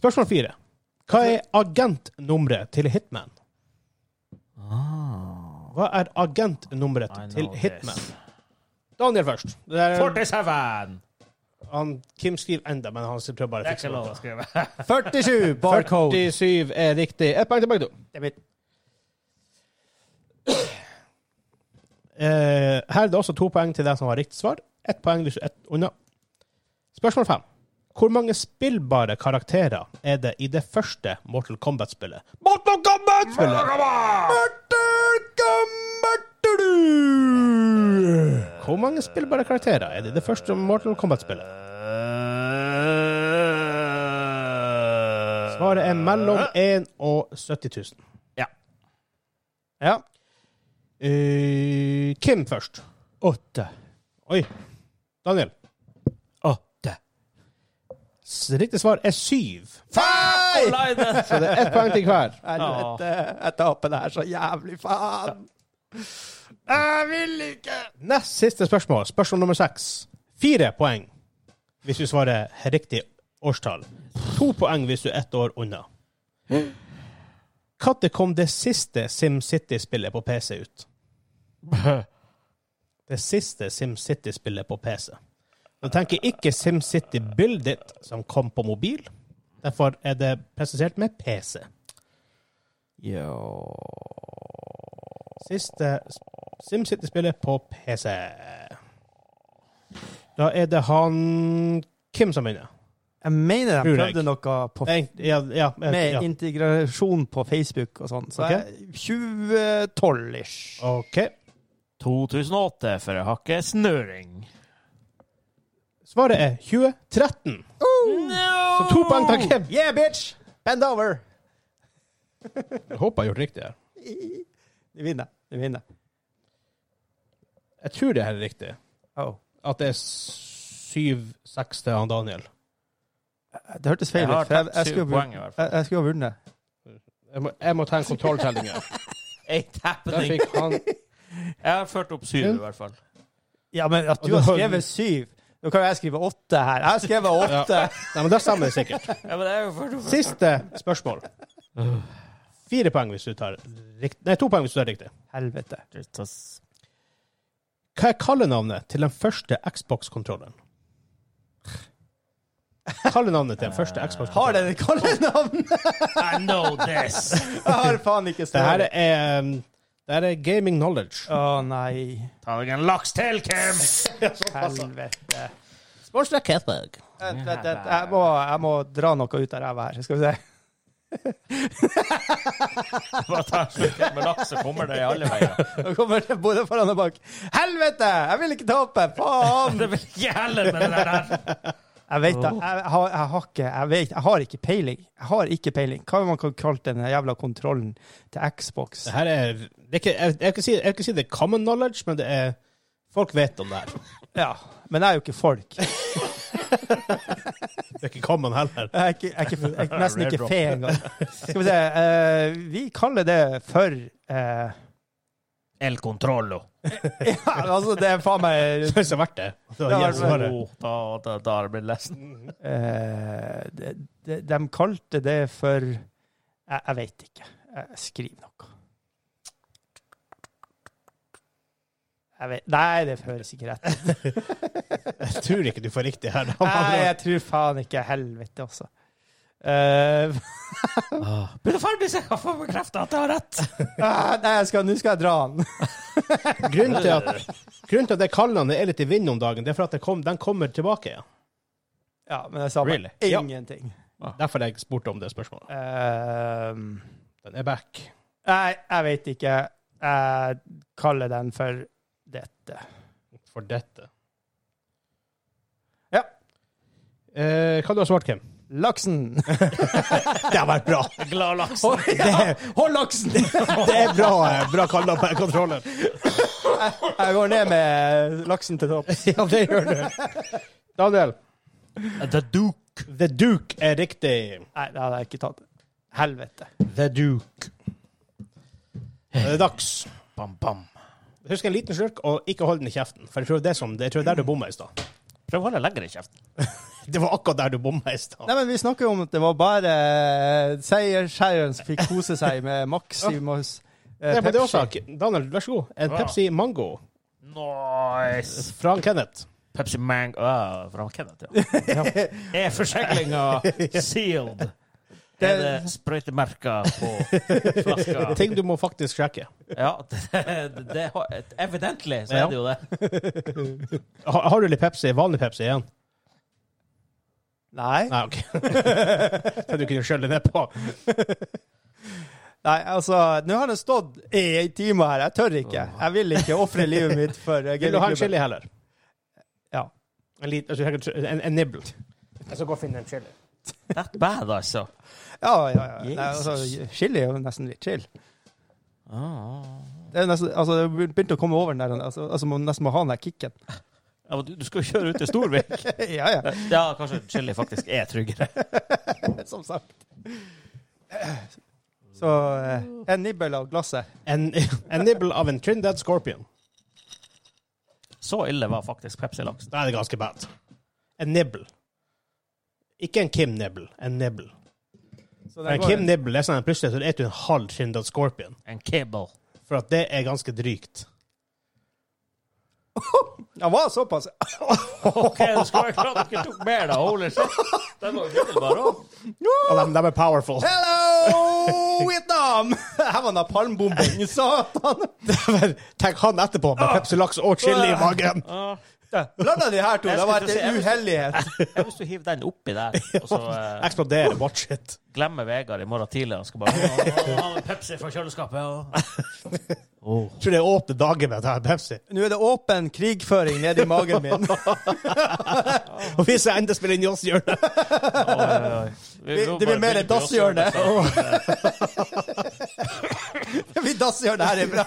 Speaker 1: Spørsmål fire. Hva er agentnummeret til Hitman? Hva er agentnummeret
Speaker 2: I know
Speaker 1: til
Speaker 2: this.
Speaker 1: Hitman? Daniel først. Det er,
Speaker 2: 47!
Speaker 1: han, Kim skriver enda, men han prøver bare å
Speaker 2: Det er
Speaker 1: fikse
Speaker 2: ikke lov å
Speaker 1: det.
Speaker 2: skrive.
Speaker 3: 47 barcode.
Speaker 1: 47 er riktig. Ett poeng til begge to. Eh, her er det også to poeng til den som har riktig svar. Ett poeng hvis du er ett unna. Spørsmål fem. Hvor mange spillbare karakterer er det i det første Mortal Kombat-spillet? Mortal Kombat-spillet! Hvor mange spillbare karakterer er det i det første Mortal Kombat-spillet? Svaret er mellom 1 og 70 000.
Speaker 2: Ja.
Speaker 3: Ja.
Speaker 1: Eh, Kim først.
Speaker 3: Åtte.
Speaker 1: Oi. Daniel.
Speaker 3: Åtte.
Speaker 1: S- Riktig svar er syv.
Speaker 3: Feil!
Speaker 1: Så det er ett poeng til hver.
Speaker 3: Helvete. Jeg taper det her så jævlig, faen. Jeg vil ikke.
Speaker 1: Nest siste spørsmål, spørsmål nummer seks. Fire poeng hvis du svarer riktig årstall. To poeng hvis du er ett år unna. Når kom det siste SimCity-spillet på PC ut? Det siste SimCity-spillet på PC. Nå tenker jeg ikke SimCity Build It, som kom på mobil. Derfor er det presentert med PC.
Speaker 2: Yo.
Speaker 1: Siste s- SimCity-spillet på PC. Da er det han Kim som begynner.
Speaker 3: Jeg mener de
Speaker 1: Tror jeg.
Speaker 3: prøvde noe på,
Speaker 1: Nei, Ja, ja, ja,
Speaker 3: med
Speaker 1: ja.
Speaker 3: integrasjon på Facebook og sånn. Så
Speaker 1: Ok.
Speaker 3: jeg- 2012-ish.
Speaker 1: OK.
Speaker 2: 2008, for jeg har ikke snøring.
Speaker 1: Svaret er 2013. Så to poeng til Kim.
Speaker 3: Yeah, bitch! Bend over!
Speaker 1: Jeg håper jeg har gjort riktig her.
Speaker 3: Vi vinner. Vi vinner.
Speaker 1: Jeg tror det her er riktig.
Speaker 3: Oh.
Speaker 1: At det er 7-6 til han Daniel.
Speaker 3: Det hørtes feil
Speaker 2: Jeg
Speaker 3: ut.
Speaker 2: har
Speaker 3: for Jeg,
Speaker 2: tatt
Speaker 3: jeg,
Speaker 2: syv
Speaker 3: skulle ha vun-
Speaker 2: poeng, i hvert fall.
Speaker 3: jeg, jeg skulle ha vunnet.
Speaker 1: Jeg må, jeg må ta en kontrolltelling her.
Speaker 2: Ain't
Speaker 1: Der
Speaker 2: happening.
Speaker 1: fikk han
Speaker 2: Jeg har ført opp syv, i hvert fall.
Speaker 3: Ja, men at
Speaker 1: Og
Speaker 3: du har
Speaker 1: da-
Speaker 3: skrevet syv Nå kan jo jeg skrive åtte her. Jeg har skrevet åtte.
Speaker 1: Nei, men da stemmer det sikkert.
Speaker 2: Ja, men det er jo for...
Speaker 1: Siste spørsmål. Fire poeng hvis du tar riktig. Nei, to poeng hvis du tar riktig.
Speaker 3: Helvete.
Speaker 2: Jesus.
Speaker 1: Hva er kallenavnet til den første Xbox-kontrolleren? Kallenavnet til den første
Speaker 3: Har
Speaker 1: Xbox-kontrolleren.
Speaker 3: den et kallenavn?
Speaker 2: I know this!
Speaker 3: Jeg har faen ikke
Speaker 1: Det her
Speaker 3: stått.
Speaker 1: er, um, det her er gaming knowledge.
Speaker 3: Å nei.
Speaker 2: Ta deg en laks til, Kim!
Speaker 3: Helvete.
Speaker 1: Sportsdrikk Hedberg.
Speaker 3: Vent, vent, vent. Jeg må, jeg må dra noe ut av ræva her. Skal vi se.
Speaker 2: Bare ta en slurk med laks, så kommer det alle veier.
Speaker 3: Nå kommer det både foran og bak. Helvete! Jeg vil ikke ta opp her! Faen!
Speaker 2: Det vil ikke heller med det der.
Speaker 3: Jeg vet det. Jeg, har- jeg har ikke jeg, vet, jeg har ikke peiling. Jeg har ikke peiling. Hva man kan kalle den jævla kontrollen til Xbox?
Speaker 1: Det her er, det er ikke, jeg, jeg, kan si, jeg kan si det er common knowledge, men det er Folk vet om det her.
Speaker 3: Ja. Men jeg er jo ikke folk.
Speaker 1: Det er ikke common heller.
Speaker 3: Jeg er, ikke, jeg er, ikke, jeg er nesten ikke
Speaker 2: Railroad.
Speaker 3: fe engang. Skal vi se. eh, vi kaller det for eh,
Speaker 2: El Controllo.
Speaker 3: Ja, altså, det er faen meg
Speaker 1: Det har vært det. Det var
Speaker 3: Ja,
Speaker 1: Jens
Speaker 3: det var
Speaker 1: Are.
Speaker 2: Oh, da, da, da har det blitt lesten.
Speaker 3: eh, de, de, de kalte det for Jeg, jeg vet ikke. Jeg skriver noe. Jeg vet, nei, det høres ikke rett ut.
Speaker 1: Jeg tror ikke du får riktig her.
Speaker 3: Nei, jeg tror faen ikke helvete, altså. Eh,
Speaker 2: Burde ferdig se hva får bekreftet at jeg har rett.
Speaker 3: ah, nei, jeg skal- nå skal jeg dra den.
Speaker 1: Grunnen til at, grunnen til at det kallenavnet er litt i vinden om dagen, det er for at det kom, den kommer tilbake igjen.
Speaker 3: Ja, men jeg sa bare
Speaker 2: Really?
Speaker 1: Ja.
Speaker 3: ingenting.
Speaker 1: Derfor jeg spurte om det spørsmålet.
Speaker 3: Eh,
Speaker 1: Den er back.
Speaker 3: Nei, jeg vet ikke. Jeg kaller den for dette.
Speaker 1: for dette.
Speaker 3: Ja.
Speaker 1: Eh, hva du har svart, Kim?
Speaker 3: Laksen.
Speaker 1: Det har vært bra!
Speaker 2: Glad laksen.
Speaker 3: Hold laksen!
Speaker 1: Det er bra, eh, bra kallenavn på kontrollen.
Speaker 3: Jeg går ned med laksen til topps.
Speaker 1: Ja, det gjør du. Daniel,
Speaker 2: The Duke.
Speaker 1: The Duke er riktig.
Speaker 3: Nei, det hadde jeg ikke tatt. Helvete.
Speaker 1: The Duke. Det er Eh, dags.
Speaker 2: Bam, bam.
Speaker 1: Husk en liten slurk, og ikke hold den i kjeften. For jeg tror det er, som, jeg tror det er der du bomma i stad.
Speaker 2: Prøv å holde lenger i kjeften.
Speaker 1: Det var akkurat der du bomma i stad.
Speaker 3: Nei, men vi snakker jo om at det var bare seierskjæreren som fikk kose seg med Maximus eh,
Speaker 1: Det er på det
Speaker 3: Pepsi.
Speaker 1: også. Daniel, vær så god. En
Speaker 2: Ja.
Speaker 1: Pepsi Mango
Speaker 2: Nice.
Speaker 1: fra Kenneth.
Speaker 2: Pepsi Mango ah, Fra Kenneth, ja. Er forseglinga sealed? Er det sprøytemerker på flaska?
Speaker 1: Ting du må faktisk sjekke.
Speaker 2: Ja, det, det, har- evidentlig så
Speaker 1: Ja.
Speaker 2: er det jo det.
Speaker 1: Har, har du litt Pepsi? Vanlig Pepsi igjen?
Speaker 3: Nei.
Speaker 1: Nei, OK. Så du kunne skjølle ned på.
Speaker 3: Nei, altså, nå har det stått i en time her. Jeg tør ikke. Jeg vil ikke ofre livet mitt for eh,
Speaker 1: Vil du ha en
Speaker 3: gamingklubben.
Speaker 1: chili heller?
Speaker 3: Ja.
Speaker 1: En, lit, altså, en, en nibble. Jeg skal gå og finne en chili.
Speaker 2: That bad, altså.
Speaker 3: Ja, ja, ja. Nei,
Speaker 2: Jesus.
Speaker 3: altså, chili er jo nesten litt chill.
Speaker 2: Ah.
Speaker 3: Det er nesten, altså, det begynte å komme over den der, altså, altså man nesten må ha den der kicken.
Speaker 2: Ja, men du, du skal jo kjøre ut til Storvik.
Speaker 3: ja, ja,
Speaker 2: Ja, kanskje chili faktisk er tryggere.
Speaker 3: som sagt. Så eh, en nibbel av glasset.
Speaker 1: En, en nibble av en Trinidad Scorpion.
Speaker 2: Så ille var faktisk Pepsi-laksen.
Speaker 1: Da er det ganske bad. En nibble. Ikke en Kim Nibble, en nibble.
Speaker 3: Så
Speaker 1: For
Speaker 3: den
Speaker 1: En
Speaker 3: går-
Speaker 1: Kim Nibble er sånn at plutselig så spiser du en halv Trinidad Scorpion.
Speaker 2: En kibble.
Speaker 1: For at det er ganske drygt.
Speaker 3: Den var såpass.
Speaker 2: OK, du skal være glad dere tok mer, da. Holy shit. Den var jo bare opp.
Speaker 1: Og de, de er powerful.
Speaker 3: Hello, Vietnam! Her var napalmbomben. Satan!
Speaker 1: Tenk han etterpå med Pepsi Laks og chili i magen.
Speaker 3: Blanda de her to.
Speaker 2: Jeg
Speaker 3: Det var
Speaker 2: skulle
Speaker 3: en
Speaker 2: til å si-
Speaker 3: uhellighet.
Speaker 2: Jeg hvis du hiver den oppi der, og så eh,
Speaker 1: Eksploderer. Watch it.
Speaker 2: glemmer Vegard i morgen tidlig Han skal bare ha- ha en Pepsi fra kjøleskapet. Ja. Oh.
Speaker 1: Tror det er åpne dager med denne Pepsi.
Speaker 3: Nå er det åpen krigføring nedi magen min.
Speaker 1: Og hvis jeg enda spiller inn i oss hjørnet
Speaker 2: Oi, oi, oi. Vi- vi må
Speaker 3: Det blir mer
Speaker 2: bare begynne
Speaker 3: et
Speaker 2: på oss hjørne.
Speaker 3: dasshjørne. Vi dasser det her er bra.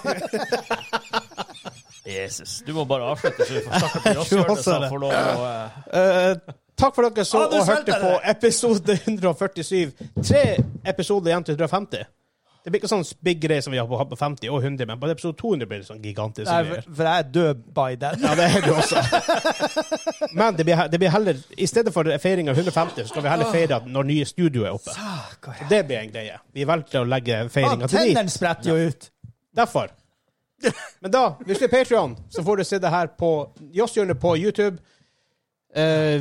Speaker 2: Jesus. Du må bare avslutte, så vi får snakke på
Speaker 1: tror
Speaker 2: dasshjørnet,
Speaker 1: også
Speaker 2: så
Speaker 1: det.
Speaker 2: får lov å eh,
Speaker 1: Eh, takk for dere så
Speaker 3: Ah, du
Speaker 1: og hørte
Speaker 3: svelgte
Speaker 1: på
Speaker 3: det.
Speaker 1: episode 147. Tre episoder igjen til 150. Det blir ikke sånn big greie som vi har på, på 50 og 100, men på episode 200 blir det sånn gigantisk.
Speaker 3: Nei,
Speaker 1: greier.
Speaker 3: for, for jeg er død by then.
Speaker 1: Ja, det er du også. Men det blir, det blir heller, i stedet for feiring av 150, så skal vi heller feire at når nye studio er oppe. Og det blir en greie. Vi valgte å legge
Speaker 3: Ah,
Speaker 1: feiringa til de.
Speaker 3: Tennene spretter jo ut.
Speaker 1: Derfor. Men da, hvis du er Patreon, så får du se det her på Jåsshjørnet på YouTube. Eh,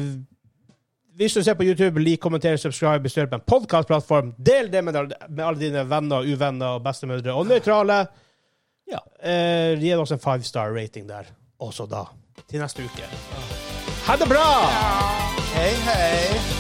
Speaker 1: hvis du ser på YouTube, lik, kommenter, subscribe, bestøt på en podkastplattform. Del det med, med alle dine venner, uvenner og bestemødre og nøytrale.
Speaker 2: Ja.
Speaker 1: Eh, gi oss en five star rating der. Også da. Til neste uke. Ha det bra!
Speaker 3: Hei, hei.